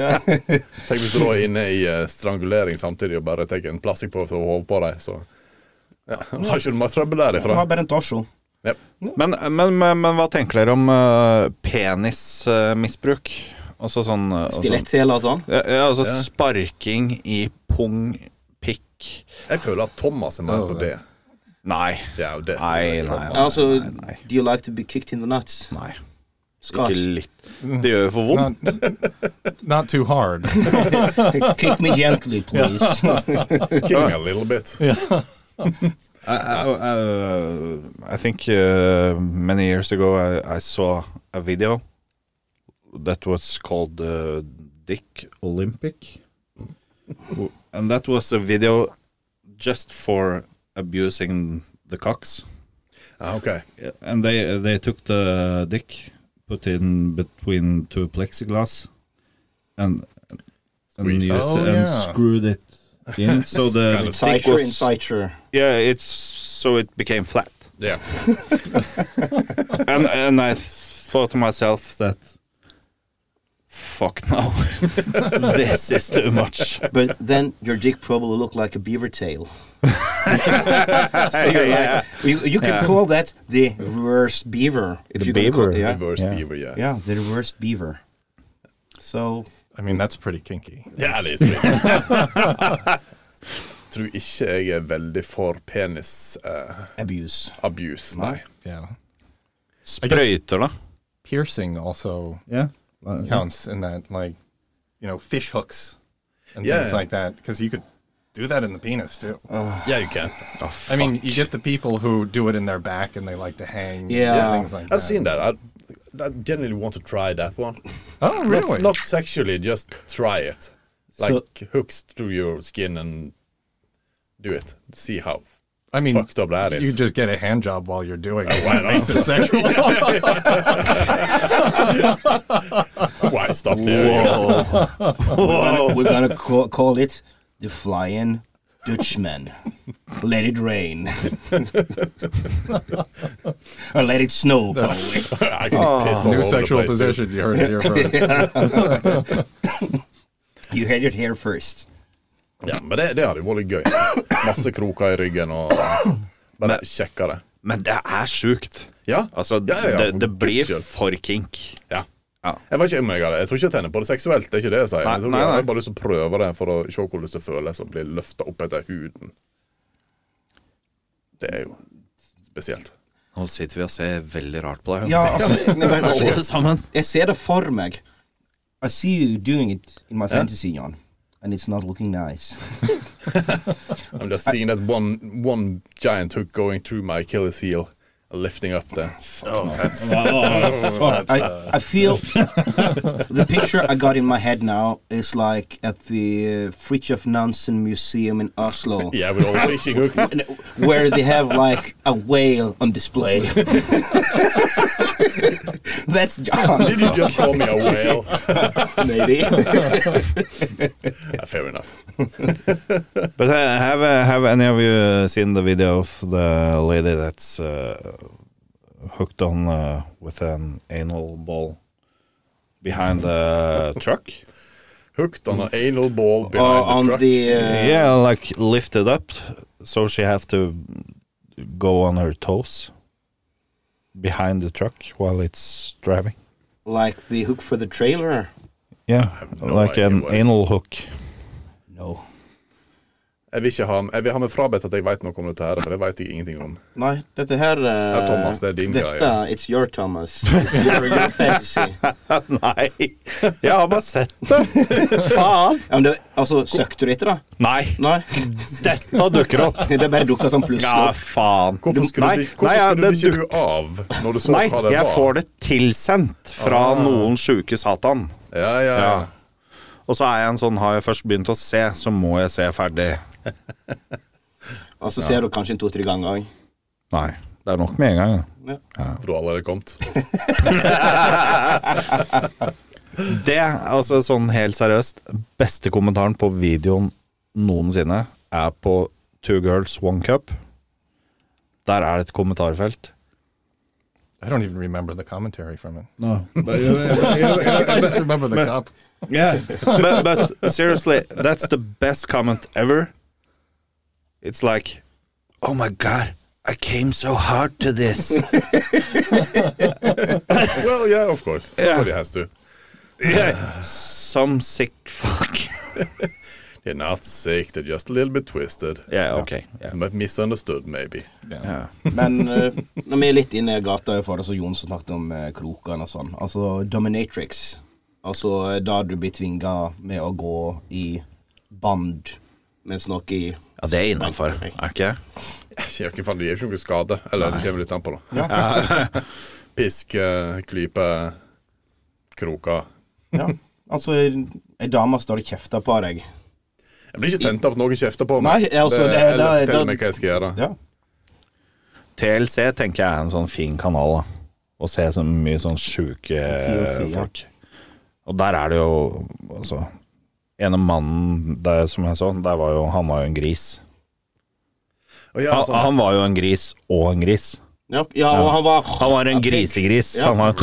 Tenk hvis du da er inne i eh, strangulering samtidig og bare tar en plastikkpose over hodet på deg, så ja, har ikke du mer trøbbel Det derifra. var bare en torso. Yep. Men, men, men, men hva tenker dere om eh, penismisbruk? Altså sånn eh, altså- Stiletthæler og sånn. Ja, ja, altså Ja. sparking i pung, pikk Jeg føler at Thomas er mer på det. Nei. Ja, og det tror Nei, jeg. nei, Altså, altså, nei, nei. do you like to be kicked in the nuts? nei. Ikke Scars. litt. Det gjør jo for vondt. Not, not too hard. Kick me gently, please. Kill me a little bit. I, I, I, I think uh, many years ago I, I saw a video that was called uh, Dick Olympic. W- And that was a video just for abusing the cocks. Ah, OK. Yeah, And they they took the dick, put in between two plexiglass, and and, Squeezed used- it. Oh, and yeah. screwed it in. So the Kind of dick Citer in was citer. yeah, it's so it became flat. Yeah. and and I thought to myself that fuck no, this is too much. But then your dick probably looked like a beaver tail. so yeah. You, you can Yeah. call that the reverse beaver. If The you're gonna beaver. Call, yeah. Reverse Yeah. beaver, yeah. yeah, the reverse beaver. So I mean, that's pretty kinky. Ja, det er spennende. Tror ikke jeg er veldig for penisabuse, abuse. nei. Yeah. Sprøyter, da. Piercing also Yeah. counts in that, like, you know, fish hooks and Yeah. Oh, things like that, because you could do that in the penis too. Yeah, you can. I mean, you get the people who do it in their back and they like to hang. Yeah. and things like I've that. seen that. I, I generally want to try that one. Oh, really? Not, not sexually, just try it. Like hooks through your skin and do it. See how I mean, fucked up that is. Oh, you just get a hand job while you're doing it. why not? makes it sexual. Why stop there? We're gonna call, call it the flying Dutchman. let it rain, or let it snow. Probably. I can piss all New over sexual the place. position. You heard it here first. you had it here first. Ja, men det, det hadde jo vært gøy. Masse kroker i ryggen og Bare kjekkere. Men det er sjukt. Ja. Altså, ja, ja, det, det for blir guds skyld. for kink. Ja. Ja. Jeg vet ikke om jeg hadde Jeg tror ikke jeg tenner på det seksuelt. Det er ikke det jeg sier. Nei, jeg, tror nei, jeg nei. har bare lyst til å prøve det for å se hvordan det føles å bli løfta opp etter huden. Det er jo spesielt. Nå sitter vi og ser veldig rart på deg. Ja, altså, men, men, altså, Alle sammen. jeg ser det for meg. I see you doing it in my fantasy, John, and it's not looking nice. I'm just seeing that one, one giant hook going through my Achilles heel and lifting up there. I, uh, I feel the picture I got in my head now is like at the uh, Fridtjof Nansen Museum in Oslo, Yeah, with all the fishing hooks. And- where they have like a whale on display. That's John, Did you just call me a whale? maybe. Yeah, fair enough. But uh, have uh, have any of you seen the video of the lady that's uh, hooked on uh, with an anal ball behind the truck? Hooked on an anal ball or behind the on truck. the uh, yeah, like lifted up, so she have to go on her toes behind the truck while it's driving. like the hook for the trailer. Yeah, no like idea an what it's- anal hook. No, Jeg vil ikke ha, jeg vil ha meg frabedt at jeg veit noe om dette, her, for det veit jeg ingenting om. nei, dette her uh, Ja, Thomas, det er din dette, greie. It's your Thomas. It's your, your fantasy. Nei, jeg har bare sett det. Faen. Ja, men det, altså, søkte du etter, da? Nei, Nei. dette dukker opp. Det bare dukka sånn plutselig Ja, opp. faen. Hvorfor Nei, skrudde hvorfor nei, ja, skrudde det ikke du av når du så Nei, hva det jeg var? får det tilsendt fra Ah. noen sjuke satan. Ja, ja, ja. Ja. Og så er jeg en sånn Har jeg først begynt å se, så må jeg se ferdig. Og så ser du kanskje en to-tre ganger òg. Nei, det er nok med en gang. ja. For du har allerede kommet. Det, altså sånn helt seriøst, beste kommentaren på videoen noensinne er på Two Girls One Cup. Der er det et kommentarfelt. I don't even remember the commentary from it. I but, just remember the cop. but seriously, that's the best comment ever. It's like, oh my god, I came so hard to this. Well, yeah, of course. Somebody has to. Some sick fuck. They're not sick, they're just a little bit twisted. Yeah, ok. Yeah. But misunderstood, maybe. Yeah. Men eh, når vi er litt inne i gata for det, så Jon som snakket om eh, krokene og sånn. Altså dominatrix. Altså eh, da du blir tvinga med å gå i band mens noe i ja, det er innafor, er ikke det? Jeg vet ikke faen, Det gir jo ikke noe skade. Eller det kommer litt an på, da. Pisk, eh, klype, kroker. Ja. Altså, ei dame står og kjefter på deg. Jeg blir ikke tent av at noen kjefter på meg. Nei, altså, det- eller det- forteller det- meg hva jeg skal gjøre. Ja. TLC tenker jeg er en sånn fin kanal da. å se så mye sånn sjuke TLC, ja. folk. Og der er det jo altså Ene mannen der som jeg så, der var jo, han var jo en gris. Og ja, Han, sånn, han var jo en gris og en gris. Ja, ja, og han var Han var en grisegris. Ja, Han var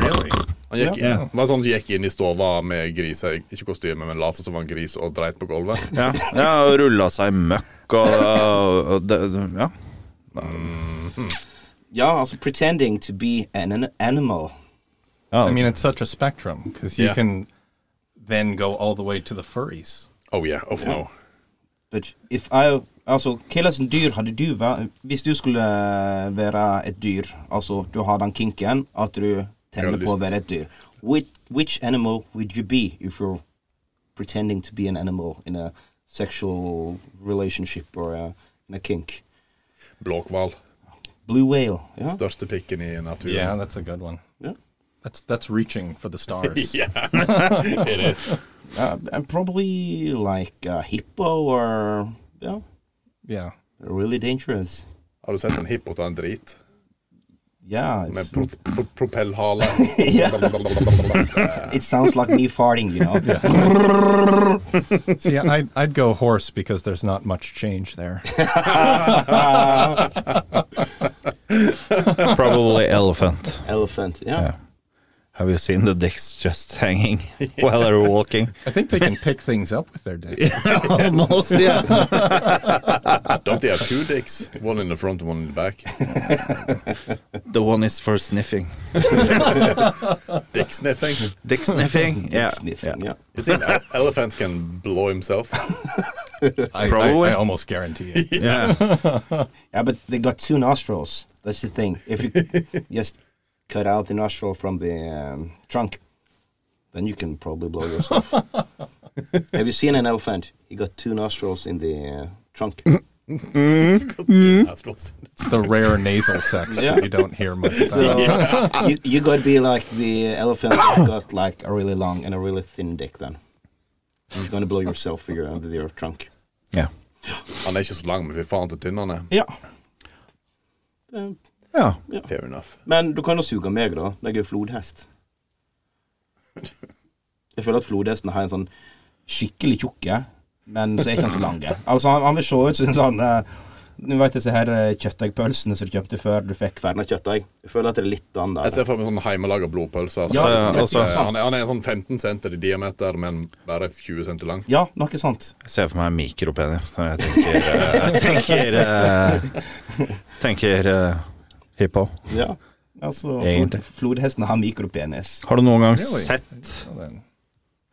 han gikk, inn, var sånn som gikk inn i stova med griser, ikke kostyme, men lot som han var gris og dreit på gulvet. Ja, ja og rulla seg møkk og, og det, Ja. Ja, altså pretending to be an, an animal. ja. I mean, it's such a spectrum because you Yeah. can then go all the way to the furries. Oh yeah, oh no. But if I Altså, hva slags dyr hadde du vært Hvis du skulle være et dyr, altså du har den kinken at du Jeg har tenner på å lyst. være et dyr, which, which animal would you be if you're pretending to be an animal in a sexual relationship or a, in a kink? Blåkval. Blue whale. Ja. Største pikken i naturen. Yeah, that's a good one. Yeah. That's that's reaching for the stars. It is. Uh, and probably like a hippo or Yeah. Yeah. Really dangerous. Har du sett en hippo ta en drit? Yeah. It's, Med pro pro propellhale. Ja. it sounds like me farting, you know. See, I'd, I'd go horse because there's not much change there. Probably elephant. Elephant. Yeah. Have you seen the dicks just hanging while they're walking? I think they can pick things up with their dick. Almost, yeah. Don't they have two dicks? One in the front, one in the back. The one is for sniffing. Dick sniffing. Dick sniffing? Yeah. sniffing. Yeah. You think an elephant can blow himself? I, I- Probably. I, almost guarantee it. Yeah. yeah. Yeah, but they got two nostrils. That's the thing. If you just cut out the nostril from the um, trunk, then you can probably blow yourself. Have you seen an elephant? He got two nostrils in the uh, trunk. Hmm? That's what- It's the rare nasal sex Yeah. that you don't hear much about. you you got to be like the elephant that got like a really long and a really thin dick. Then you're gonna blow yourself with your under your trunk. Yeah. Han er ikke så lang, men fy faen til tynn han er. Yeah. Um, yeah. Fair enough. Men du kan jo suge meg, da. Jeg er flodhest. Jeg føler at flodhesten har en sånn skikkelig tjukke, men så er ikke han så lang. Altså, han, han vil se ut som en sånn eh, Du vet disse her eh, kjøttdeigpølsene som du kjøpte før du fikk ferna kjøttdeig? Jeg føler at det er litt den Jeg der. ser for meg sånn heimelaga blodpølse. Altså. Ja, Eh, altså- han, er, han er sånn 15 center i diameter, men bare 20 center lang. Ja, noe sånt. Jeg ser for meg mikropenis når jeg tenker eh, Tenker, eh, tenker eh, hippo. Ja. Altså, Egentlig. flod, flodhesten har mikropenis. Har du noen gang Really? sett Well, then,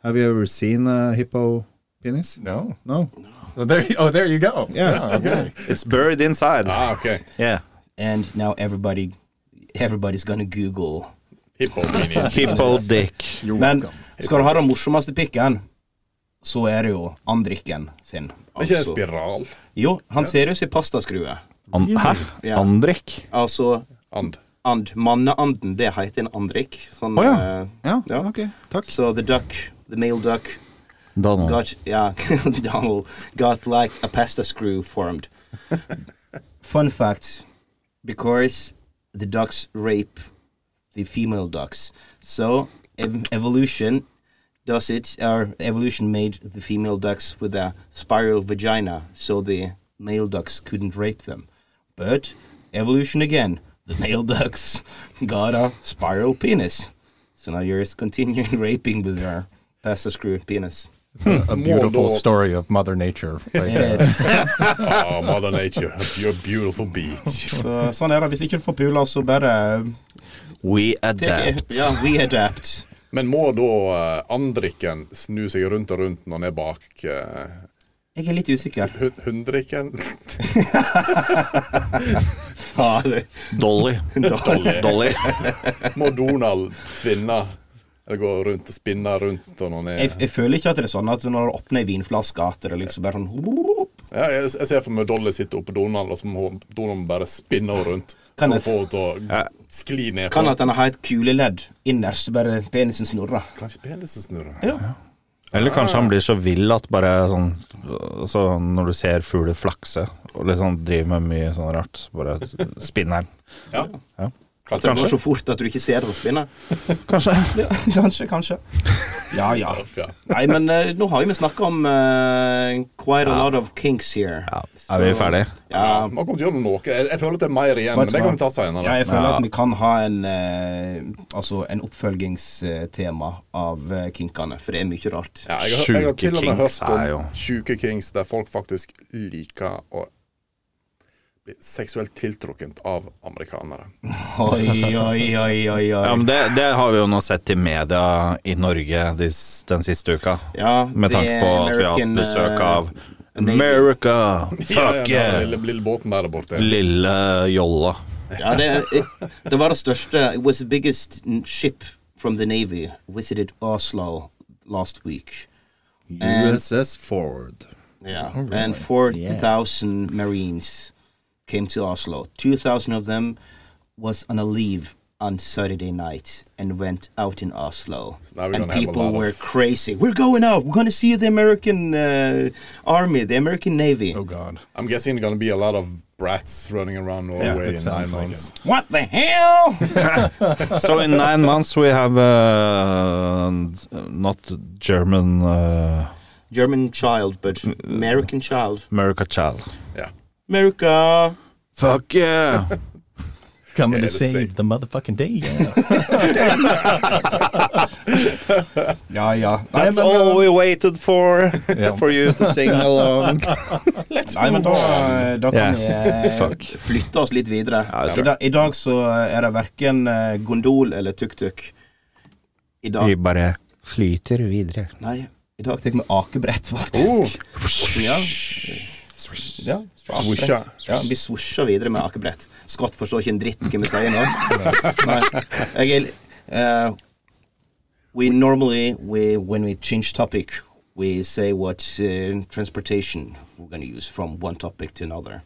Have you ever seen a hippo penis? no. No. So there, you- oh, there you go. Yeah. okay. It's buried inside. Ah, ok. Yeah. And now everybody Everybody's gonna Google. Hippo-minis. Hippo dick. You're Men welcome. skal du ha den morsomste pikken, så er det jo andrikken sin. Er ikke det en Altså- spiral? Jo, han ser ut som ei pastaskrue. An Hæ? Ja. Andrik? Altså And. and, Manneanden, det heter en andrik. Sånn, Å ja. eh, Ja, Ja. ok. Takk. so the duck, the male duck, Donald. got yeah, Donald got like a pasta screw formed. Fun fact, because the ducks rape the female ducks, so ev- evolution does it. Or evolution made the female ducks with a spiral vagina, so the male ducks couldn't rape them. But evolution again, the male ducks got a spiral penis. So now you're just continuing raping with your pasta screw penis. A beautiful Mordor. story of Mother Nature right there. Ah, Mother Nature, your beautiful beach. Så, sånn er det. Hvis ikke du får pula, så bare We Take it- adapt. Yeah, we adapt. Men må da eh, andrikken snu seg rundt og rundt når han er bak eh, Jeg er litt usikker. hun- hundrikken? Dolly. Dolly. Dolly. Må Donald tvinne? Eller gå rundt og spinne rundt og når han Jeg, er jeg føler ikke at det er sånn at når du åpner ei vinflaske, at det liksom bare sånn ja, jeg, jeg ser for meg Dolly sitter oppå Donald, og så må Donald bare spinne henne rundt. Kan For å jeg- få henne til å Ja. skli ned. Kan på- at han har et kuleledd innerst, så bare penisen snurrer. Kanskje penisen snurrer? Eller kanskje han blir så vill at bare sånn så Når du ser fugler flakse og liksom driver med mye sånn rart, så bare spinner den. Ja. Ja. Det går Kanskje. så fort at du ikke ser det spinne. Kanskje. Ja, kanskje, kanskje. Ja, ja. Ja. Nei, men eh, nå har jo vi snakka om eh, quite a lot of kinks here. Ja, er vi ferdige? Ja, Man kommer til å gjøre noe. Jeg, jeg føler at det er mer igjen, Vet men du det hva? kan vi ta senere. Ja, jeg føler at vi kan ha en eh, Altså en oppfølgingstema av eh, kinkene, for det er mye rart. Ja, jeg, har, jeg Sjuke har til og med Kings hørt om er jo- sjuke kings der folk faktisk liker å bli seksuelt tiltrukket av amerikanere. Oi, oi, oi, oi. oi. Ja, men det, det har vi jo nå sett i media i Norge de, s- den siste uka. ja, Med det tanke er på at vi har hatt American, besøk eh, av Navy. America! Fuck ja, den yeah! lille, lille båten der borte. Lille jolla. Ja, det, det var det største It was the biggest ship from the Navy visited Oslo last week. And, USS Ford. yeah, and 4,000 Marines came to Oslo. 2,000 of them was on a leave on Saturday night and went out in Oslo. Now we're and gonna have a people lot were of- crazy. We're going out. We're going to see the American uh, Army, the American Navy. Oh God. I'm guessing there's gonna be a lot of brats running around Norway it in nine sounds like months. What the hell? So in nine months we have uh, not German uh, German child, but American child. America child. Ja. America. Fuck yeah! Coming Yeah, to the save same. the motherfucking day. Ja, ja. Nei, That's men, eh, all we waited for, Ja. for you to sing along. Nei, men da, da kan vi eh, Fuck. flytte oss litt videre. Ja, det I, tror jeg. da, I dag så er det verken eh, gondol eller tuk-tuk. I dag Vi bare flyter videre. Nei, i dag tar vi akebrett, faktisk. Oh. Ja. Ja, Swoosha. ja, vi svosjer videre med akebrett. Scott forstår ikke en dritt hva vi sier nå. Nei. Jeg er eh, We normally, we, when we change topic, we say what uh, transportation we're going to use from one topic to another.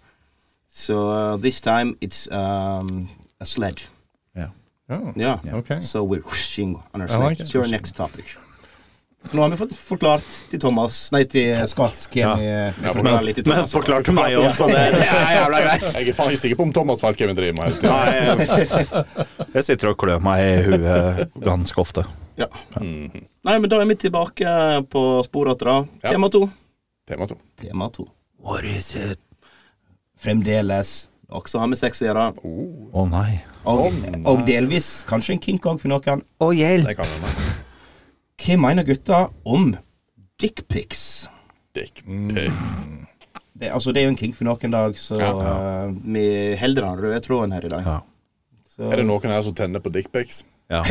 So uh, this time it's um, a sled. Oh, Yeah. Okay. So we're whooshing on our I like sled it. to our next topic. Nå har vi fått forklart til Thomas Nei, til Scott. Hvem vi vi forklarer litt til Men Thomas. forklar til meg også, det, det er jævla greit. Jeg er faen ikke sikker på om Thomas Falk Kevin driver med hele tiden. Nei, eh, jeg sitter og klør meg i huet ganske ofte. Ja. Nei, men da er vi tilbake på sporet etter det. Mhm. Ja. Tema to. Tema to. Tema to. What is it? fremdeles. Også har vi sex å gjøre. Å nei. Og, og delvis kanskje en kink òg for noen. Å hjelp! Det kan være Hva mener gutta om dickpics? dick Mm. pics. Det, altså, det er jo en kink for noen dag, så eh, Vi holder den røde tråden her i dag. Ja. Så, Er det noen her som tenner på dick pics? Ja.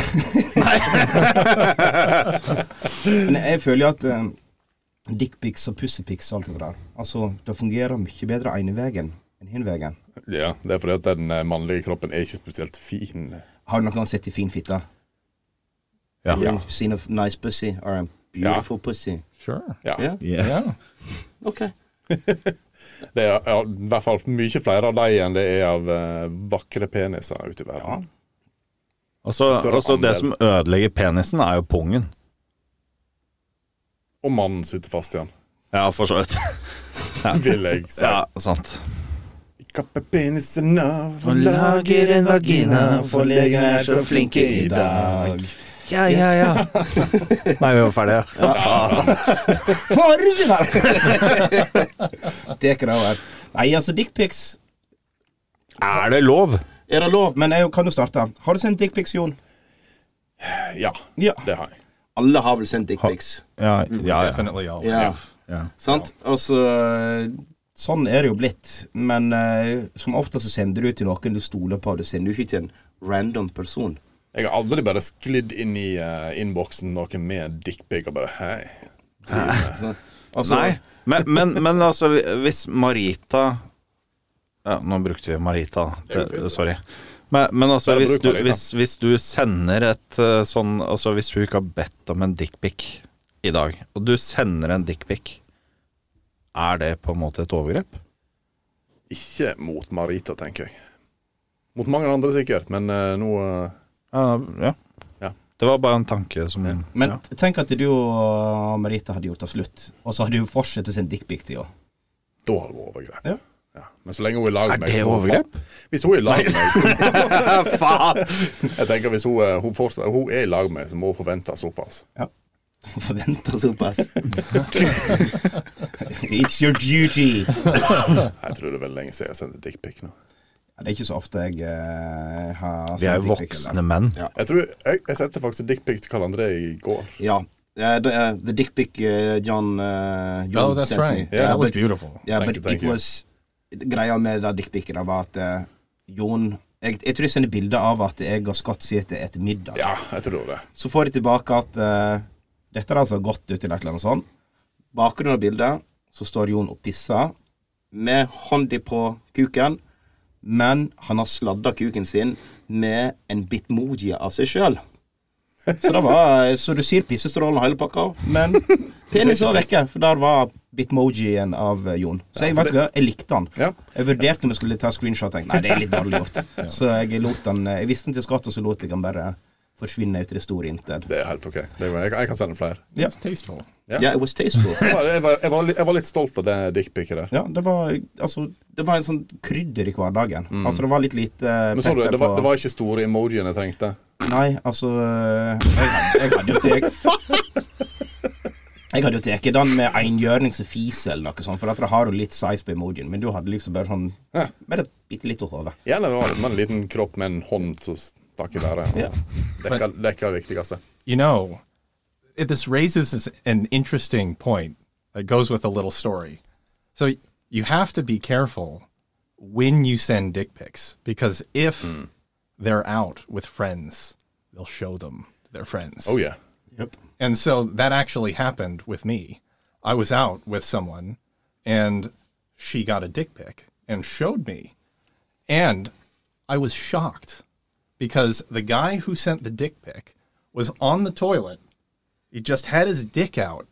Men jeg føler jo at eh, dickpics og pussypics og alt det der Altså, det fungerer mye bedre ene veien enn hin veien. Ja, det er fordi at den eh, mannlige kroppen er ikke spesielt fin. Har du noen gang sett i fin fitte? Ja. You've seen a f- nice pussy or a beautiful pussy. Sure. Ja. Ja. Yeah. Yeah. Ok. Det er ja, i hvert fall mye flere av dem enn det er av eh, vakre peniser ute i verden. Og så Større og så det andel. som ødelegger penisen, er jo pungen. Og mannen sitter fast igjen. Ja, for så vidt. Vil jeg si. Ja, sant. Vi kapper penisene Og lager en vagina, for legene er så flinke i dag. Ja, ja, ja. Nei, vi var ferdige. Ja. Fargen her! Tek det over. Nei, altså, dickpics Er det lov? er det lov, men jeg kan jo starte. Har du sendt dickpics, Jon? Ja, Ja. det har jeg. Alle har vel sendt dickpics. Ja, ja, ja. Definitely all. Ja. ja. Sant? Altså Sånn er det jo blitt, men eh, som ofte så sender du til noen du stoler på. Du sender jo ikke til en random person. Jeg har aldri bare sklidd inn i eh, innboksen noen med en dickpic og bare Hei. Altså, Nei, men, men, men altså hvis Marita ja, Nå brukte vi Marita, det, sorry. Men, men altså, Bare hvis bruk du, Marita. hvis, hvis du sender et eh, sånn Altså, hvis du ikke har bedt om en dickpic i dag, og du sender en dickpic, er det på en måte et overgrep? Ikke mot Marita, tenker jeg. Mot mange andre sikkert, men eh, nå eh, Ja, ja. Ja. Det var bare en tanke som Men ja. tenk at du og Merita hadde gjort det slutt, og så hadde hun fortsatt å sende dickpic til henne. Da har det vært overgrep. Ja. Ja. Men så lenge hun er i lag Er med meg det så må hun overgrep? faen- Hvis hun er i lag med meg, så Faen! jeg tenker hvis hun, eh, hun, fortsatt, hun er i lag med meg, så må hun forvente såpass. Hun forventer- ta såpass. It's your duty! Jeg tror det er veldig lenge siden jeg sendte dickpic nå. Ja, det er ikke så ofte jeg eh, har Vi er sendt jo dick pic, voksne menn. Jeg tror jeg, jeg sendte faktisk dickpic til Karl André i går. Yeah, uh, the, uh, the dick pic uh, John, uh, John Oh, that's sent right. me. Yeah, that was but, beautiful. yeah, Thank but you, thank it you. was Greia med det dickpicet var at uh, Jon jeg, jeg tror jeg sender bilde av at jeg og Scott sitter etter middag. Ja, jeg tror det var det. Så får jeg tilbake at eh, dette er altså godt ut til et eller annet sånt. Bakgrunnen av bildet, så står Jon og pisser med hånda på kuken, men han har sladda kuken sin med en bitmoji av seg sjøl. Så det var, så du sier pissestrålen og hele pakka, men penis var vekke, for der var bitmojien av eh, Jon. Så jeg, vet ikke, hva, jeg likte han. Ja. Jeg vurderte om jeg skulle ta screenshot, tenkte nei, det er litt dårlig gjort. Så jeg lot han, eh, jeg visste den til Scott, og så lot jeg han bare forsvinne ut i det store intet. Det er helt OK. Det er, jeg, jeg kan sende flere. Ja. It's tasteful. Ja. Yeah, it was tasteful. Jeg var, jeg, var, jeg, var, litt- jeg var litt stolt av det dickpicet der. Ja, det var, altså, det var en sånn krydder i hverdagen. Altså, det var litt lite eh, Mm. Men så du, pepper det var, på- det var ikke store emojien jeg trengte. Nei, altså eh, Jeg, hadde- jeg hadde jo tatt Jeg hadde jo tatt den med enhjørnings og fis eller noe sånt, for at det har jo litt size på emojien, men du hadde liksom bare sånn Ja. Bare et bitte lite hode. Gjerne var det med en liten kropp med en hånd som stakk i været. Ja. Dekka dekka det viktigste. You know, it, this raises this- an interesting point that goes with a little story. So y- you have to be careful when you send dick pics because if they're out with friends, they'll show them to their friends. Oh yeah. And so that actually happened with me. I was out with someone and she got a dick pic and showed me. And I was shocked because the guy who sent the dick pic was on the toilet. He just had his dick out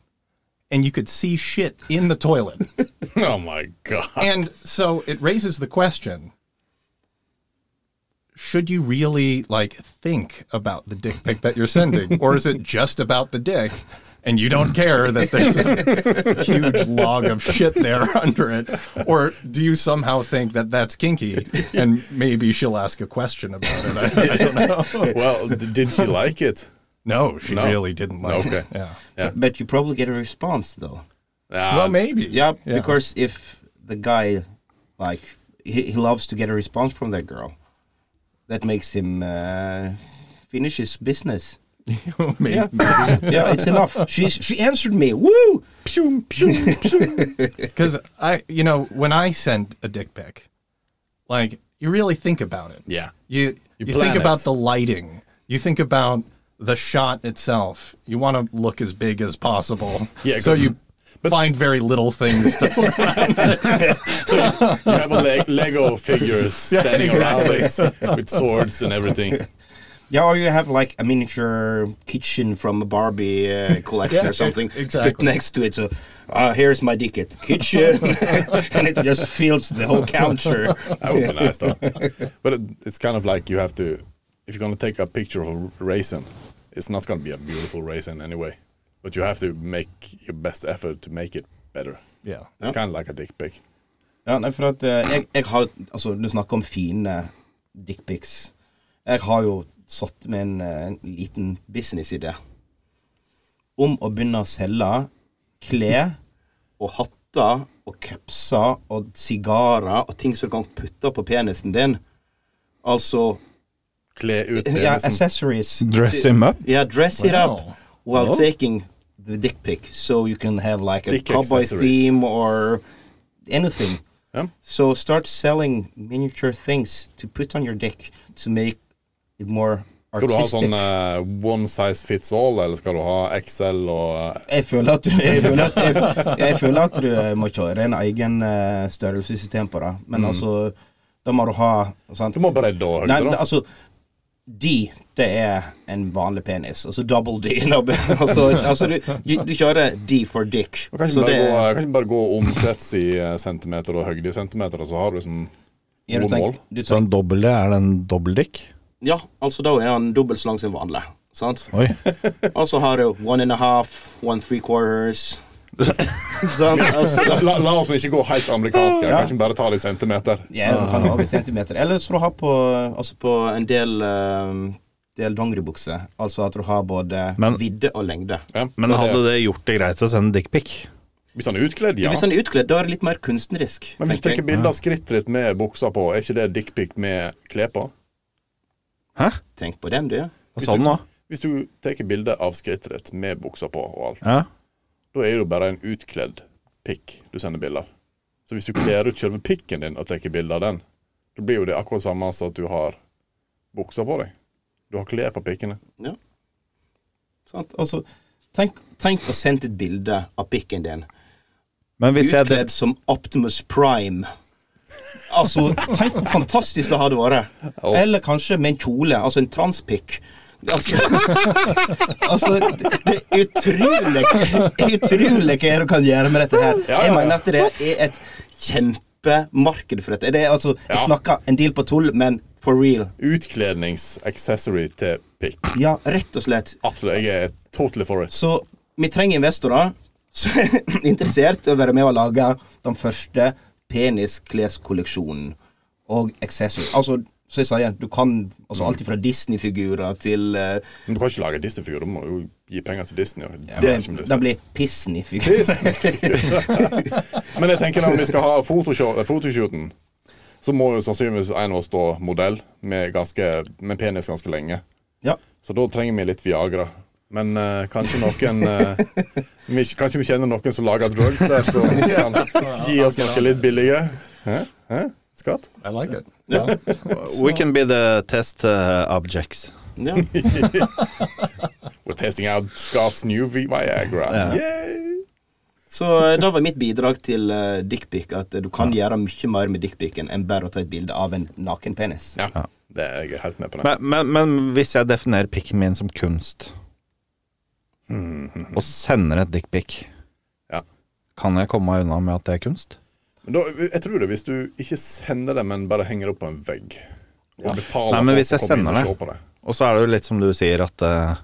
and you could see shit in the toilet. Oh my god. and so it raises the question should you really like think about the dick pic that you're sending or is it just about the dick and you don't care that there's a huge log of shit there under it or do you somehow think that that's kinky and maybe she'll ask a question about it I, I don't know Well, d- did she like it? no she No. really didn't like Okay. it yeah But you probably get a response, though. Nah, well maybe Yeah, because if the guy, like, he, he loves to get a response from that girl, that makes him uh, finish his business. maybe yeah, it's enough. She's, she answered me. Woo! Because I, you know, when I send a dick pic, like you really think about it. Yeah. You You you, plan think it. about the lighting. You think about the shot itself. You want to look as big as possible. Yeah, So good. you find very little things to put around it. You have a leg, Lego figures standing around with, with swords and everything. Yeah, or you have like a miniature kitchen from a Barbie uh, collection Yeah, or something e- exactly. put next to it. So uh, here's my ticket kitchen, and it just fills the whole counter. That would be nice though. But it, it's kind of like you have to, if you're gonna take a picture of a raisin, it's not gonna be a beautiful raisin anyway. But you have to make your best effort to make it better. Yeah. It's kind of like a dick pic. Ja, nei, for at eh, jeg, jeg har Altså, du snakker om fine dickpics. Jeg har jo satt med en, eh, en liten businessidé om å begynne å selge klær og hatter og capser og sigarer og ting som du kan putte på penisen din. Altså Kle ut liksom. ja, penisen. accessories. Dress him up. Yeah, dress it Wow. up while taking the dick pic, so you can have like a Dick cowboy accessories. theme or anything. Yeah. So start selling miniature things to put on your dick to make it more Skal du ha sånn eh, one size fits all, eller skal du ha XL og eh, Jeg føler at du, jeg føler at, jeg, jeg føler at du eh, må ikke ha ren egen eh, størrelsessystem på det. Men Mm. altså, da må du ha sant? Du må bredde og Nei, høyde, da. altså D, det er en vanlig penis. Altså double D. da. altså, altså du, du, du kjører D for dick. Du kan ikke Så bare, det- gå, kan ikke bare gå omkrets i eh, centimeter og høyde i centimeter, og så har du liksom ja, du noen mål. tenker- du Så en Sånn. Sånn dobbel D, er det en dobbeltdikk? Ja, altså da er han dobbelt så lang som vanlig. Sant? Oi. Og så har du one and a half, one three quarters Sant? Altså, La, la oss ikke gå helt amerikansk her, kanskje bare ta det i centimeter. Ja, du kan ha det i centimeter. Eller så du har på altså på en del, eh, del dongeribukser. Altså at du har både Men- vidde og lengde. Ja, Men det er hadde det. det gjort det greit å sende dickpic? Hvis han er utkledd, ja. Hvis han er utkledd, da er det litt mer kunstnerisk. Men hvis du tenker tenker jeg. bilde av skrittet ditt med buksa på, er ikke det dickpic med klær på? Tenk på den, du. Hva sa du nå? Hvis du tar bilde av skrittet ditt med buksa på og alt, Ja. da er det jo bare en utkledd pikk du sender bilde av. Så hvis du kler ut selve pikken din og tar bilde av den, da blir jo det akkurat samme som at du har buksa på deg. Du har klær på pikkene. Sant? altså, Tenk, tenk å sende et bilde av pikken din Men hvis jeg utkledd som Optimus Prime. Altså, tenk hvor fantastisk det hadde vært. Eller kanskje med en kjole, altså en transpikk. Altså, altså det det er utrolig Utrolig hva du kan gjøre med dette her. Ja, ja, ja. Jeg mener at det er et kjempemarked for dette. Det er altså, Ja. Jeg snakker en del på tull, men for real. Utkledningsaccessory til pikk. Ja, rett og slett. Absolutt. Jeg er totally for it. Så vi trenger investorer som er interessert i å være med og lage den første peniskleskolleksjonen og accessory. Altså, så jeg sier, du kan altså, alt fra Disney-figurer til eh, Men du kan ikke lage Disney-figur. Du må jo gi penger til Disney. og det det, har ikke vi lyst det til. blir Pissney-figurer. Men jeg tenker når vi skal ha fotoshow- eh, fotoshooten, så må jo sannsynligvis en av oss stå modell med, ganske, med penis ganske lenge. Ja. Så da trenger vi litt Viagra. Men eh, kanskje noen eh, vi, Kanskje vi kjenner noen som lager drugs her, så de kan gi oss noe litt billige. Hæ? Hæ? Skatt? I like it. We can be the test uh, objects. Ja. We're testing out Scott's new Vi- Viagra. Yay! Så eh, da var mitt bidrag til uh, dickpic at eh, du kan gjøre mye mer med dickpicen enn bare å ta et bilde av en naken penis. Ja, det er jeg helt med på. Det. Men, men, men hvis jeg definerer pikken min som kunst, og sender et dickpic, Ja. kan jeg komme meg unna med at det er kunst? Men da, jeg tror det hvis du ikke sender det, men bare henger det opp på en vegg. Og betaler Nei, men folk hvis jeg for å komme inn sender og se på det. Og så er det jo litt som du sier, at eh,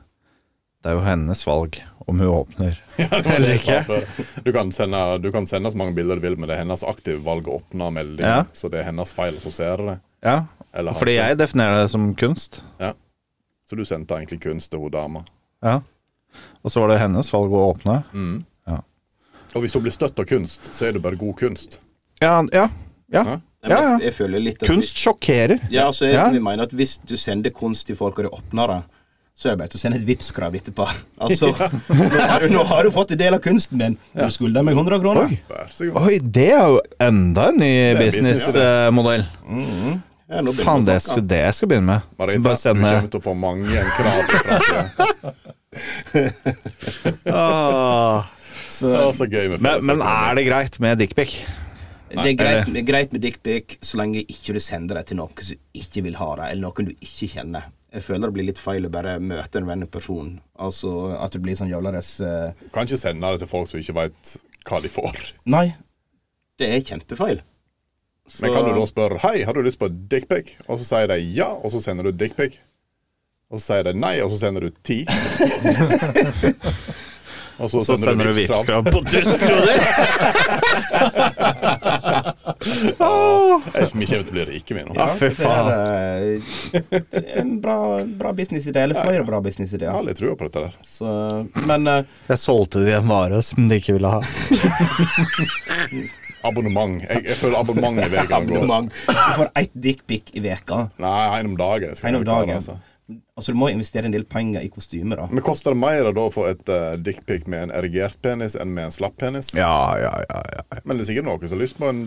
det er jo hennes valg om hun åpner. Eller ikke. Du kan, sende, du kan sende så mange bilder du vil, men det er hennes aktive valg å åpne meldingen. Ja. Så det er hennes feil at hun ser det. Ja, Eller han fordi ser det. jeg definerer det som kunst. Så du sendte egentlig kunst til hun dama. Ja. Og så var det hennes valg å åpne. Og hvis hun blir støtt av kunst, så er det bare god kunst. Ja, ja. ja. Ja. Nei, men Ja, ja. Jeg, jeg føler litt at Kunst sjokkerer. Ja, altså, jeg, Ja. jeg mener at hvis du sender kunst til folk, og de åpner det, så er det bare til å sende et Vipps-krav etterpå. Altså, nå, har du, nå har du fått en del av kunsten din. Du skylder meg 100 kroner. Vær så god. Oi, det er jo enda en ny er business, businessmodell. Ja, nå begynner Faen, vi det å er snakke. det jeg skal begynne med. Marita, Bare du sende kommer til å få mange krav i framtida. Åh. Det er så gøy med men, men er det greit med dickpic? Det er greit, det er greit med dickpic så lenge ikke du sender det til noen som ikke vil ha det, eller noen du ikke kjenner. Jeg føler det blir litt feil å bare møte en random person. Altså at du blir sånn jævlares eh, Kan ikke sende det til folk som ikke veit hva de får. Nei, det er kjempefeil. Men kan du da Så- spørre Hei, har du lyst på dickpic? Og så sier de ja, og så sender du dickpic. Og så sier de nei, og så sender du ti. og så, Så sender du Vipps-krav. Vipps-krav på 1000 kroner! Jeg vi kommer til å bli rike, vi nå. Ja, fy det er faen. eh, det er en bra, bra businessidé, eller flere bra Jeg har businessidéer. litt trua på dette der. Så, men eh, Jeg solgte de en vare som de ikke ville ha. Abonnement. Jeg, jeg føler abonnement i veien går. abonnement Du får ett dickpic i veka Nei, en om dagen. skal En om jeg klare, dagen. altså. Altså, du må investere en del penger i kostymer, da. Men koster det mer da å få et uh, dickpic med en erigert penis enn med en slapp penis? Ja, ja, ja, ja. Men det er sikkert noen som har lyst på en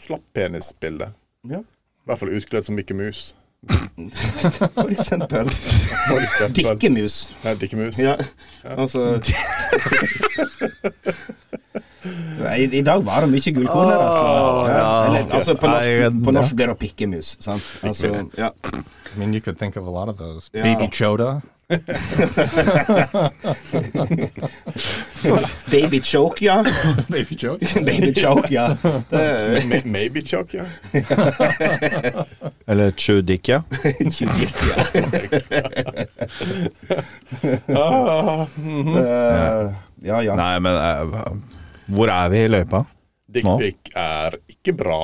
slapp penisbilde. Ja. I hvert fall utkledd som Mikke Mus. For eksempel. For eksempel. Dikkemus. Nei, Dikkemus. Ja, altså Nei, I dag var det mye gullkorn her, altså. Åh, ja. Eller, altså på, norsk, Nei, på norsk blir det pikkemus. Sant? Altså, ja. I mean, you could think of a lot of those. Yeah. Baby Choda. Baby choke, ja. Baby Choda. Baby choke, ja. Det er Ma- Maybe Chuck, ja. Eller Chudikya. tjudikt, ja. Ah, Eh, Ja, ja. Nei, men eh, hvor er vi i løypa? Dickpic er ikke bra,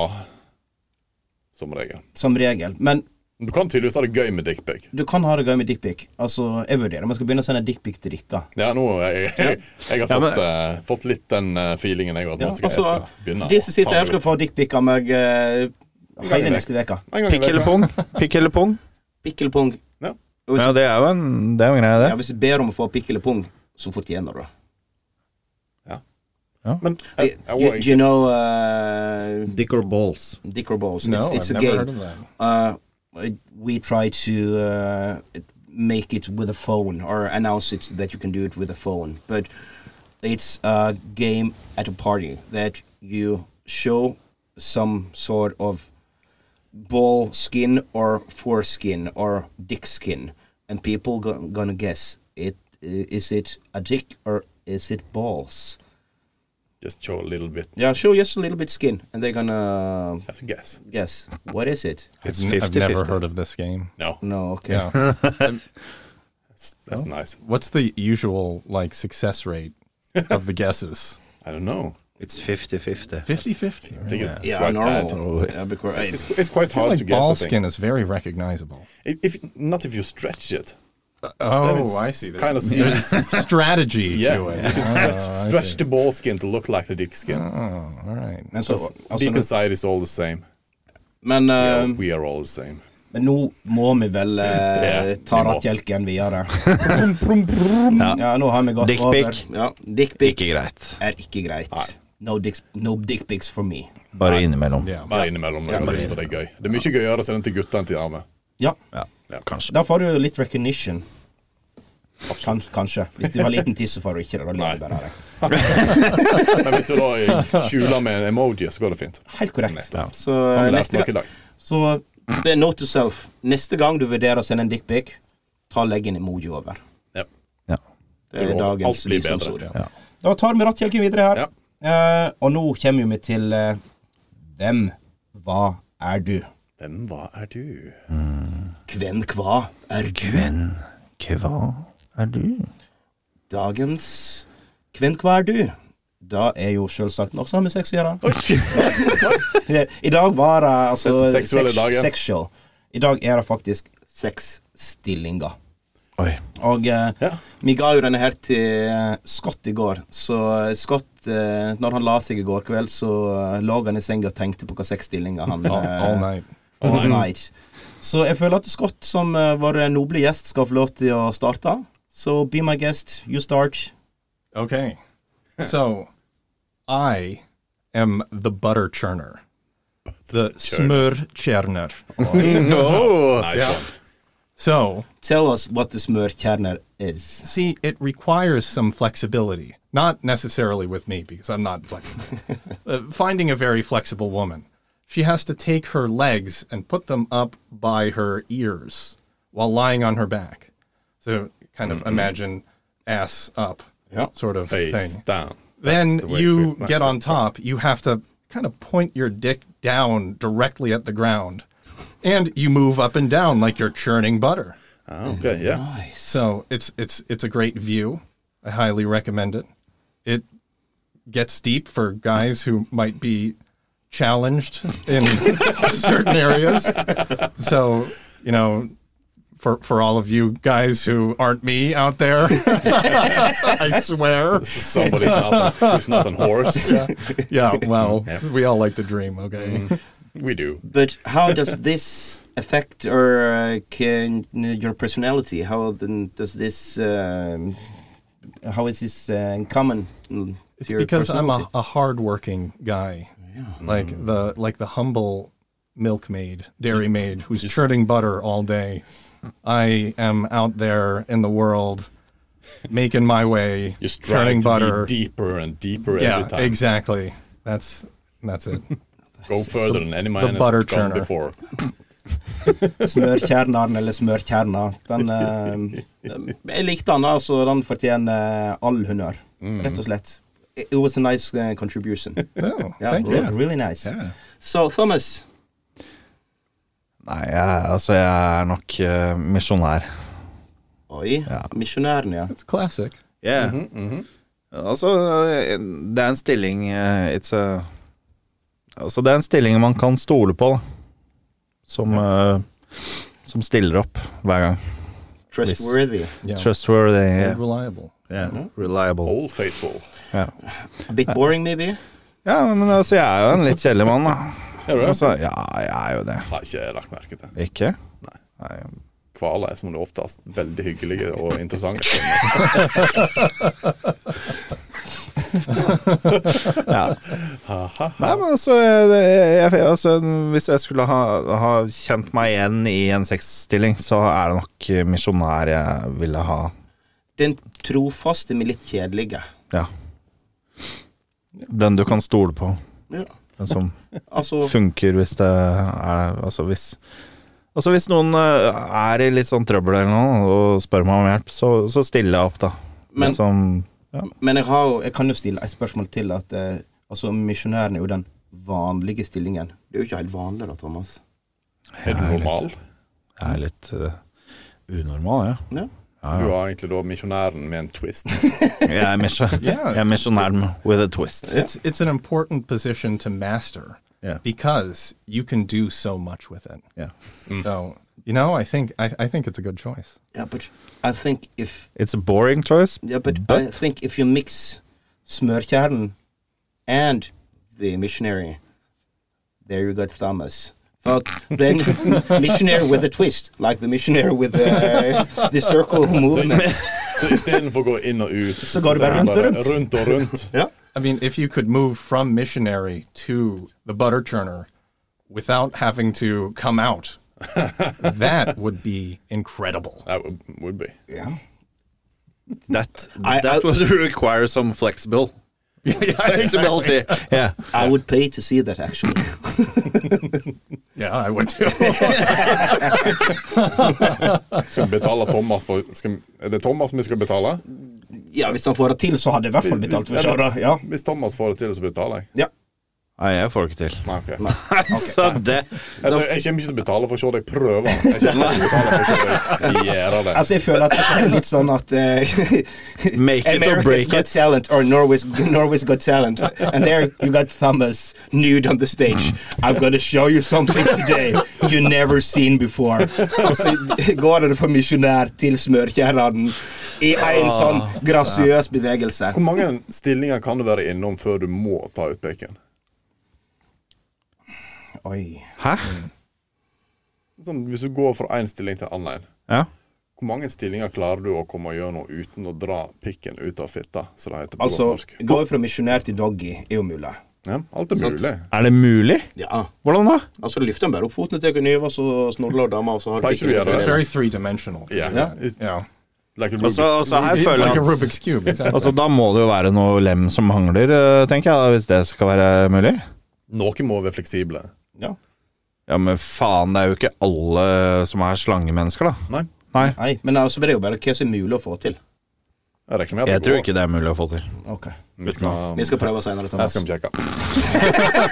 som regel. Som regel. Men Du kan tydeligvis ha det gøy med dickpic. du kan ha det gøy med dickpic. Altså, jeg vurderer om jeg skal begynne å sende dickpic til dere. Ja, nå jeg, jeg, jeg har Ja, men- fått, eh, fått litt den eh, feelingen jeg har, at Ja, nå skal altså, jeg skal begynne. De å som sitter ta her, skal det få dickpic av meg eh, gang i hele vek. neste uke. ut. En gang i Pikk eller veka. pung? Pikk eller pung? Pikkelpung. Ja, det er jo en, det er jo en greie, Ja, det. hvis du ber om å få pikk eller pung, så fortjener du det. Men eh, Do jeg, you, jeg, do you know uh, Dick or balls. Dick or Balls? No, it's it's I've a never game. heard of that. Uh, we try to uh, make it with a phone or announce it that you can do it with a phone, but it's a game at a party that you show some sort of ball skin or foreskin or dick skin, and people go- gonna guess it is it a dick or is it balls? just show a little bit. Yeah, show just a little bit skin, and they're gonna That's a guess. guess what is it. It's I've n- I've never 50-50. heard of this game. No, No, okay. Yeah. that's, that's nice. What's the usual like success rate of the guesses? I don't know. It's 50-50. 50-50. right? I think it's Yeah, quite bad. normal. Yeah, because, It's, it's quite I feel hard to like ball guess, I think. skin is very recognizable. If, if, not if you stretch it. Then Oh, it's I see. There's Kind of serious. strategy Yeah, to it. you Ah, can stretch, stretch the ball skin to look like the dick skin. Oh, all right. Men, så, altså, Deep inside is all the same. men, We are, Um, eh, we are all the same. men nå må vi vel eh, Ja, ta vi må. rattkjelken videre. Ja. Ja, nå har vi gått Dick over. pic. Ja, Dickpic Ikke greit. er ikke greit. No, dicks, no dickpics for me. Bare innimellom. Yeah. Bare innimellom når du har lyst til det er gøy. Det er mye gøyere å sende til gutta enn til damer. Ja, Ja, kanskje. da får du litt recognition. Kan, kanskje. Hvis du har liten tiss, så får du ikke det. Da Nei. lever du bare av det. Men hvis du da eh, skjuler med en emoji, så går det fint. Helt korrekt. Nettopp. Så Har vi eh, lært neste noe i gang dag? Så det er note to self. Neste gang du vurderer å sende en dickpic, ta legg en emoji over. Ja. Ja. Det er Alt dagens blir bedre. visdomsord. Ja. Da tar vi rattkjelken videre her. Ja. Eh, og nå kommer vi til eh, Hvem, hva er du? Hvem hva er du? Hvem, hva er du? Gwen, hva er du? Dagens Hvem, hva er du? Da er jo selvsagt noe som har med sex å gjøre. Eh, I dag var det altså Den seksuelle sex- dagen. sexual. I dag er det faktisk sexstillinger. Oi. Og eh, Ja. vi ga jo denne her til eh, Scott i går. Så eh, Scott, eh, når han la seg i går kveld, så eh, lå han i senga og tenkte på hva sexstillinger han All, eh, all night. all night. Så jeg føler at Scott, som eh, vår noble gjest, skal få lov til å starte. Så be my guest, you start. Okay. So I am the butter churner. The smør churner. Nice one. So, Tell us what the smørkjerner is. see, it requires some flexibility. Not necessarily with me because I'm not flexible. uh, finding a very flexible woman. She has to take her legs and put them up by her ears while lying on her back. So, kind of imagine ass up Yeah. sort of Mm-hmm. Face thing. down. then That's the way you we- get on top. You have to kind of point your dick down directly at the ground, and you move up and down like you're churning butter. Ah, ok, Mm, ja. So it's it's it's a great view. I highly recommend it. It gets deep for guys who might be challenged in certain areas. So you know. For, for all of you guys who aren't me out there, I swear. Somebody's not, who's not on horse. Yeah, well, we all like to dream, okay? We do. But how does this affect or uh, can your personality? How then does this? Um, how is this uh, in common? mm, It's to your because I'm a, personality? a hardworking guy, like the like the humble milkmaid, dairy maid, who's churning butter all day. I am out there in the world making my way, Just trying churning to butter. be deeper and deeper yeah, every time. exactly. That's that's it. Go further than any man the has butter gone churner. before. Smørkjerneren eller smørkjerna. Den, eh, jeg likte den, altså. Den fortjener all honnør, rett og slett. It it was a nice eh, contribution. Oh, Yeah, Mm. thank really, you. really nice. Yeah. So, Thomas, Nei, jeg, altså jeg er nok eh, misjonær. Oi, Ja. misjonæren, ja. It's classic. Yeah. Mhm, mhm. Altså, eh, det er en stilling eh, It's a Altså, det er en stilling man kan stole på, da. Som, eh, som stiller opp hver gang. Trustworthy. Yeah. Trustworthy. Very Yeah. reliable. Yeah. Reliable. All faithful. A bit boring, maybe? Ja, men altså, jeg er jo en litt kjedelig mann, da. Er du det? Altså, ja, jeg er jo det. Har ikke lagt merke til. Ikke? Nei. Nei. Hvaler er som det oftest veldig hyggelige og interessante. Ja. Aha. Nei, men altså, jeg, jeg, jeg- altså Hvis jeg skulle ha, ha kjent meg igjen i en sexstilling, så er det nok misjonær jeg ville ha. Den trofaste, men litt kjedelige. Ja. Den du kan stole på. Ja. Den som Altså, funker hvis det er Altså hvis Altså hvis noen eh, er i litt sånn trøbbel eller noe og spør meg om hjelp, så, så stiller jeg opp, da. Men- altså. Litt sånn- men jeg, har, jo- jeg kan jo stille et spørsmål til. at eh, altså, Misjonæren er jo den vanlige stillingen. Det er jo ikke helt vanlig, da, Thomas. Er du normal? jeg er litt eh, unormal, jeg. Ja. Ja, Du ja. er egentlig da misjonæren med en twist. Jeg er misjon- Yeah. jeg er misjonær with a twist. It's it's an important position to master Yeah. because you can do so much with it. Yeah. So you know, I think I, I think it's a good choice. Yeah, but I think if It's a boring choice. Yeah, but, I But- think if you mix smørkjernen and the missionary, there you got Thomas. But then missionary with a twist, like the missionary with the, the circle movement. Så istedenfor å gå inn og ut, Så går det bare rundt og rundt. rundt og rundt. Ja. I mean, if you could move from missionary to the butter churner without having to come out, that would be incredible. That would, would be. Yeah. That I- that I- would require some flexible flexibility. Yeah. I would pay to see that actually. Yeah, I would too. Skal vi betale Thomas for skal, Er det Thomas vi skal betale? ja, hvis han får det til, så hadde jeg i hvert fall betalt for hvis, showet. Ja. hvis Thomas får det til, så betaler jeg. ja. Nei, Ah, jeg får det ikke til. Nei, ok. Så det Altså, jeg kommer ikke til å betale for å se deg prøve. Jeg kommer ikke til å betale for å se deg gjøre det. Altså, jeg føler at det er litt sånn at eh, Make it or America's break Got it. Talent or Norway's, Norway's Got Talent. And there you got Thomas nude on the stage. I'm gonna show you something today you never seen before. Og så går det fra misjonær til smørkjernen i en sånn grasiøs bevegelse. Hvor mange stillinger kan du være innom før du må ta ut pikken? Oi. Hæ? Sånn, hvis du går fra én stilling til annen, Ja. hvor mange stillinger klarer du å komme gjennom uten å dra pikken ut av fitta? Så det heter på Altså, godt norsk. gå fra misjonær til doggy er jo mulig. Ja, alt er mulig. Er det mulig? Ja. Hvordan da? Altså, løfter han bare opp fotene til kniv, og så snorler dama, og så har Pleier ikke du å gjøre It's det? very three dimensional. Yeah. Yeah. Like a Altså, Rubik's- altså her It's føler like a jeg Rubik's Cube. uh, at Exactly. altså, Da må det jo være noe lem som mangler, eh, tenker jeg, da, hvis det skal være mulig. Noen må være fleksible. Ja. Ja, men faen, det er jo ikke alle som er slangemennesker, da. Nei, Nei. Nei, men altså, det er jo bare hva som er mulig å få til. jeg reklamerer Jeg tror ikke det er mulig å få til. Ok. Vi skal, Vi skal prøve senere, Jeg Thomas. skal sjekke.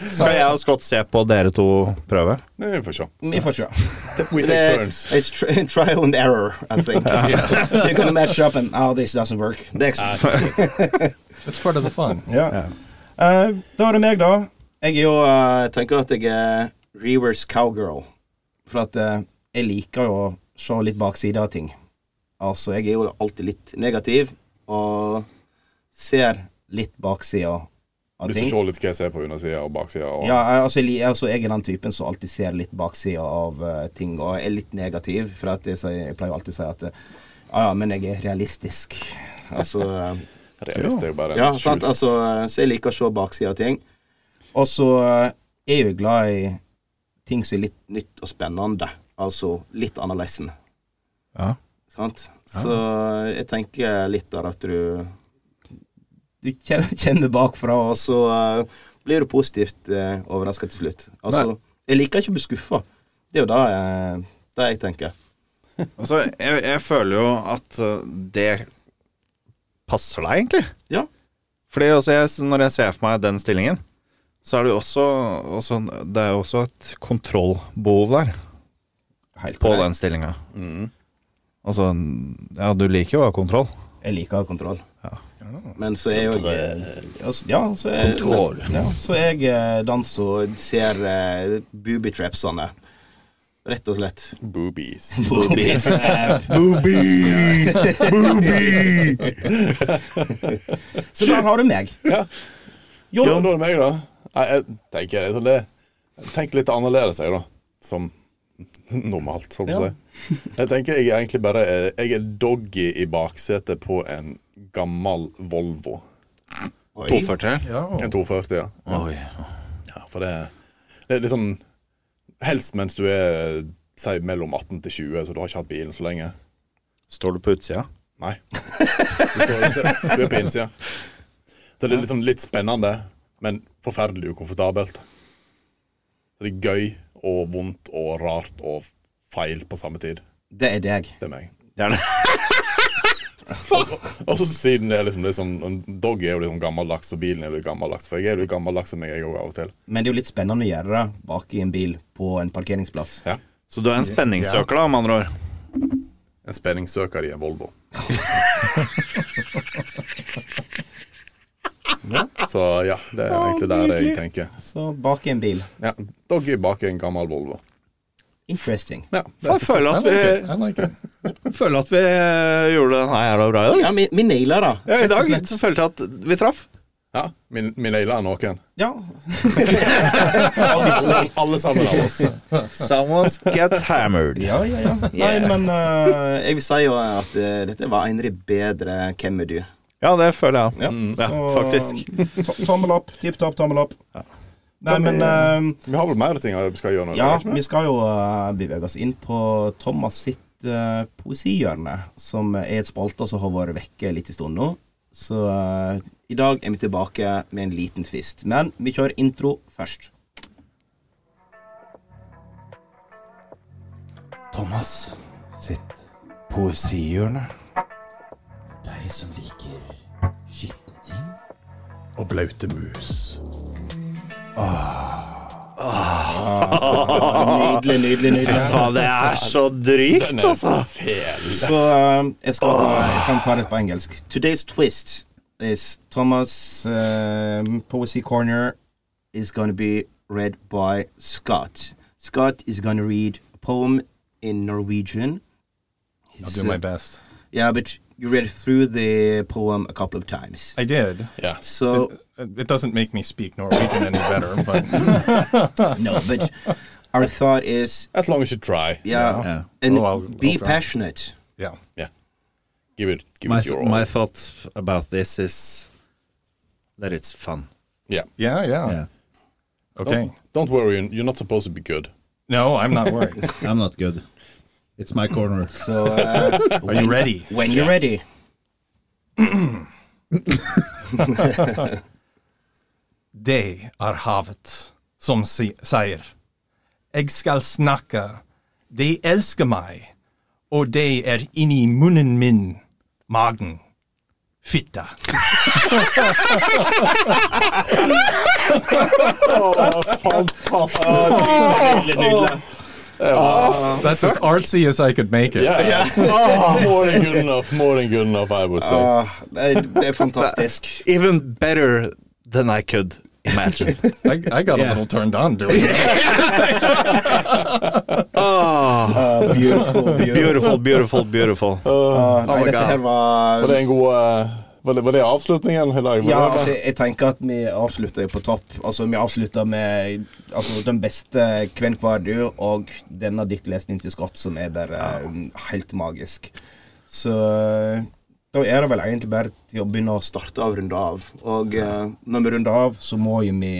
Skal jeg og Scott se på dere to prøve? Nei, Vi får se. Vi får se. We But, take uh, turns. It's tr- trial and error, I think. They're going to match up and, oh, this doesn't work. Next. Ah. That's part of the fun. Ja. Eh, da er det meg, da. Jeg er jo, eh, tenker at jeg er reverse cowgirl. For at eh, jeg liker jo å se litt baksida av ting. Altså, jeg er jo alltid litt negativ, og ser litt baksida av Du får ting. se litt hva jeg ser på undersida og baksida. Og... Ja, jeg- altså, jeg, li- altså, jeg er den typen som alltid ser litt baksida av eh, ting, og er litt negativ. For at jeg, sier- jeg pleier alltid å si at eh, ja, ja, men jeg er realistisk. Altså, eh, Realist er jo bare ja, en sant? skjult- Altså, eh, så jeg liker å se baksida av ting. Og så eh, er jo glad i ting som er litt nytt og spennende. Altså litt annerledes. Ja. Sant? Så eh, jeg tenker litt der at du Du kjen- kjenner bakfra, og så eh, blir du positivt uh, overraska til slutt. Altså, jeg liker ikke å bli skuffa. Det er jo det, eh, det jeg tenker. Altså, jeg, jeg føler jo at eh, det passer deg, egentlig. Ja. Fordi altså, jeg, når jeg ser for meg den stillingen, så er det jo også, også Det er jo også et kontrollbehov der Helt på korrekt. den stillinga. Mm. Altså, ja, du liker jo å ha kontroll. Jeg liker å ha kontroll. Men så er jo altså, Ja, så er, Kontroll. Ja, så er jeg eh, den som ser eh, booby-trapsene. Rett og slett. Boobies. Boobies. Boobies! så der har du meg. Ja, da er det meg, da. Nei, jeg tenker jeg, det, jeg tenker litt annerledes, jeg, da. Som normalt, sånn å si. Jeg tenker jeg er egentlig bare er- Jeg er doggy i baksetet på en gammel Volvo. 240. En 240, ja. Oi. ja for det, det er litt sånn Helst mens du er eh, si, mellom 18 til 20, så du har ikke hatt bilen så lenge. Står du på utsida? Nei. Du, får ikke, du er på innsida. Så det er liksom litt spennende, men forferdelig ukomfortabelt. Så det er gøy og vondt og rart og feil på samme tid. Det er deg. Det er meg. Gjerne. Og så siden det er liksom, det er sånn, en dog er jo litt sånn gammeldags, og bilen er litt gammeldags. For jeg er jo litt gammeldags som jeg er òg av og til. Men det er jo litt spennende å gjøre det bak i en bil på en parkeringsplass. Ja. Så du er en spenningssøker, da, med andre ord. En spenningssøker i en Volvo. Så ja, det er egentlig der jeg tenker. Så bak i en bil. Ja, Doggy bak i en gammel Volvo. Interesting. Ja, det Jeg føler I at like vi, it. I like it. føler at vi eh, gjorde den her bra i dag. Ja, vi, vi nailer det. Ja, I dag så følte jeg at vi traff. Ja, min, min Leila er noen. Ja. Alle, alle sammen av oss. Someone's get hammered. Ja, ja, ja. Nei, Yeah. men eh, jeg vil si jo at eh, dette var en av de bedre Hvem er du? Ja, det føler jeg. Mm. Ja. Ja, faktisk. To- Tommel opp. Tipp topp, tommel opp. Nei, Kan vi- men eh, Vi har vel mer ting vi skal gjøre nå? Ja, ikke vi skal jo eh, bevege oss inn på Thomas sitt eh, poesihjørne, som er et spalte som har vært vekke litt i stund nå. Så eh, i dag er vi tilbake med en liten twist. Men vi kjører intro først. Thomas sitt poesihjørne. For deg som liker skitne ting. Og blaute mus. Nydelig, nydelig, nydelig. Faen, det er så drygt, altså. Så eh, jeg, skal, jeg kan ta det på engelsk. Today's twist is Thomas eh, Poesy Corner is going to be read by Scott. Scott is going to read a poem in Norwegian. I'll He's, do uh, my best. yeah, but you read through the poem a couple of times. I did. Ja. So It it doesn't make me speak Norwegian any better, but no, but our thought is As long as you try. yeah, Yeah. and Oh, I'll- be I'll try. passionate. yeah. Give it, give My, it your all. my thoughts about this is that it's fun. Yeah, yeah. Yeah. Okay. Don't worry, you're not supposed to be good. No, I'm not worried. I'm not good. It's my corner. So uh, Are you ready? when you're ready. Det er havet som si- sier. Jeg skal snakke. De elsker meg. Og det er inni munnen min. Magen. Fitta. Nydelig, nydelig. That's as artsy as I could make it. Yeah. Oh, more than good enough, more than good enough, I would say. Ah, det, er, det er fantastisk. Even better than I could imagine. I, I got a little turned on doing it. Ah, Uh, beautiful, beautiful, beautiful, beautiful. nei, my dette God. her var var det en god eh, var, det, var det avslutningen i dag? Var ja, det- altså, jeg tenker at vi avslutter jo på topp. Altså, Vi avslutter med altså, den beste Kven kvar du og denne diktlesningen til Scott, som er bare um, helt magisk. Så da er det vel egentlig bare til å begynne å starte av, runde av. Og eh, når vi runder av, så må jo vi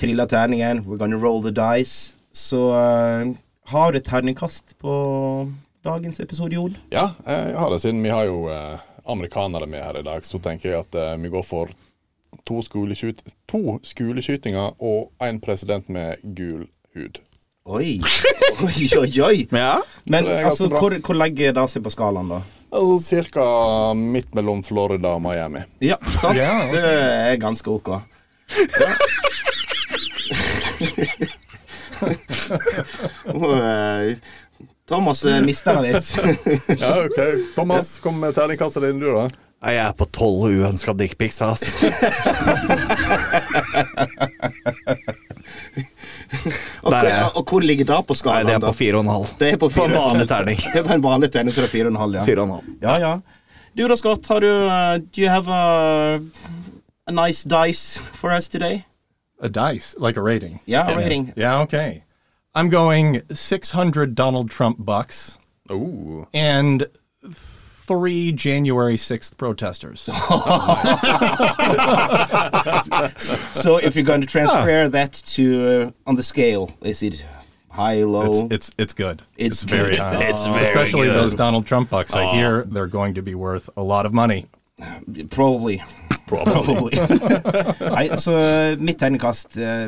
trilla terningen. We're gonna roll the dice. Så eh, har du et terningkast på dagens episode, Jon? Ja, jeg har det, siden vi har jo eh, amerikanere med her i dag, så tenker jeg at eh, vi går for to, skoleskyt to skoleskytinger og én president med gul hud. Oi. oi, oi, oi. Ja. Men Så det er ganske altså, bra. hvor, hvor legger det seg på skalaen, da? Altså cirka midt mellom Florida og Miami. Ja, sant? Ja. Det er ganske ok. Ja. Og, eh, Thomas eh, mister det litt. Ja, OK. Thomas, kom med terningkastet din, du, da. Nei, jeg er på tolv uønska dickpics, ass. Og, Der er jeg. og, og hvor ligger det på Nei, skalaen? det er på da? fire og en halv. Det er på På en fire. vanlig terning. Det er på en vanlig tennis, så det er fire og en halv, ja. Fire og en halv. Ja, ja. Du da, Scott, har du eh, Do you have a, a nice dice for us today? A dice, like a rating. Ja, rating. Yeah, okay. I'm going 600 Donald Trump bucks Oh. and three January 6th protesters. So if you're going to transfer that to uh, on the scale, is it high, low? It's, it's, it's good. It's very good. high. It's very Especially good. those Donald Trump bucks. I hear they're going to be worth a lot of money. Probably. Probably. Nei, så eh, mitt tegnekast eh,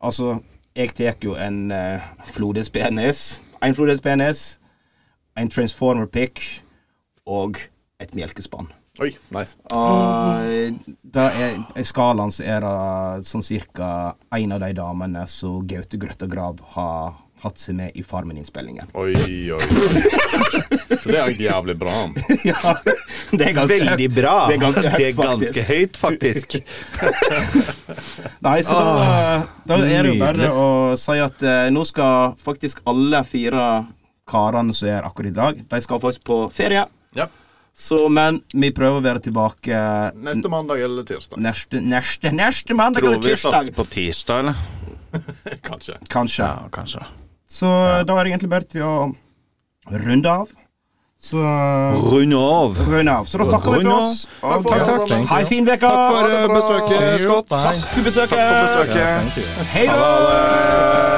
Altså, jeg tar jo en eh, flodhest-penis, en flodhest-penis, en transformer-pick og et melkespann. Oi, nice. Og da er, i skalaen så er det sånn cirka en av de damene som Gaute Grøtta Grav har hatt seg med i Farmen-innspillingen. Oi, oi, oi. Så det er jævlig bra. Ja, det er ganske Veldig bra. Det er ganske høyt, ganske høyt, faktisk. Nei, så da, da er det jo bare å si at eh, nå skal faktisk alle fire karene som er akkurat i dag, de skal faktisk på ferie. Ja. Så, men vi prøver å være tilbake Neste mandag eller tirsdag. neste, neste, neste mandag Tror eller vi tirsdag. satser på tirsdag, eller? Kanskje. Kanskje. Ja, kanskje. Så eh, da er det egentlig bare til å runde av. Så Rund av. runde av. Så da takker vi Runde for av. oss. Takk for oss, Takk, takk. eh, alle Thank Ha you. ei fin uke. for, eh, besøket, Thank you. Scott. Bye. for besøket. Takk for Yeah, besøket. thank you. Hei da. Ha det.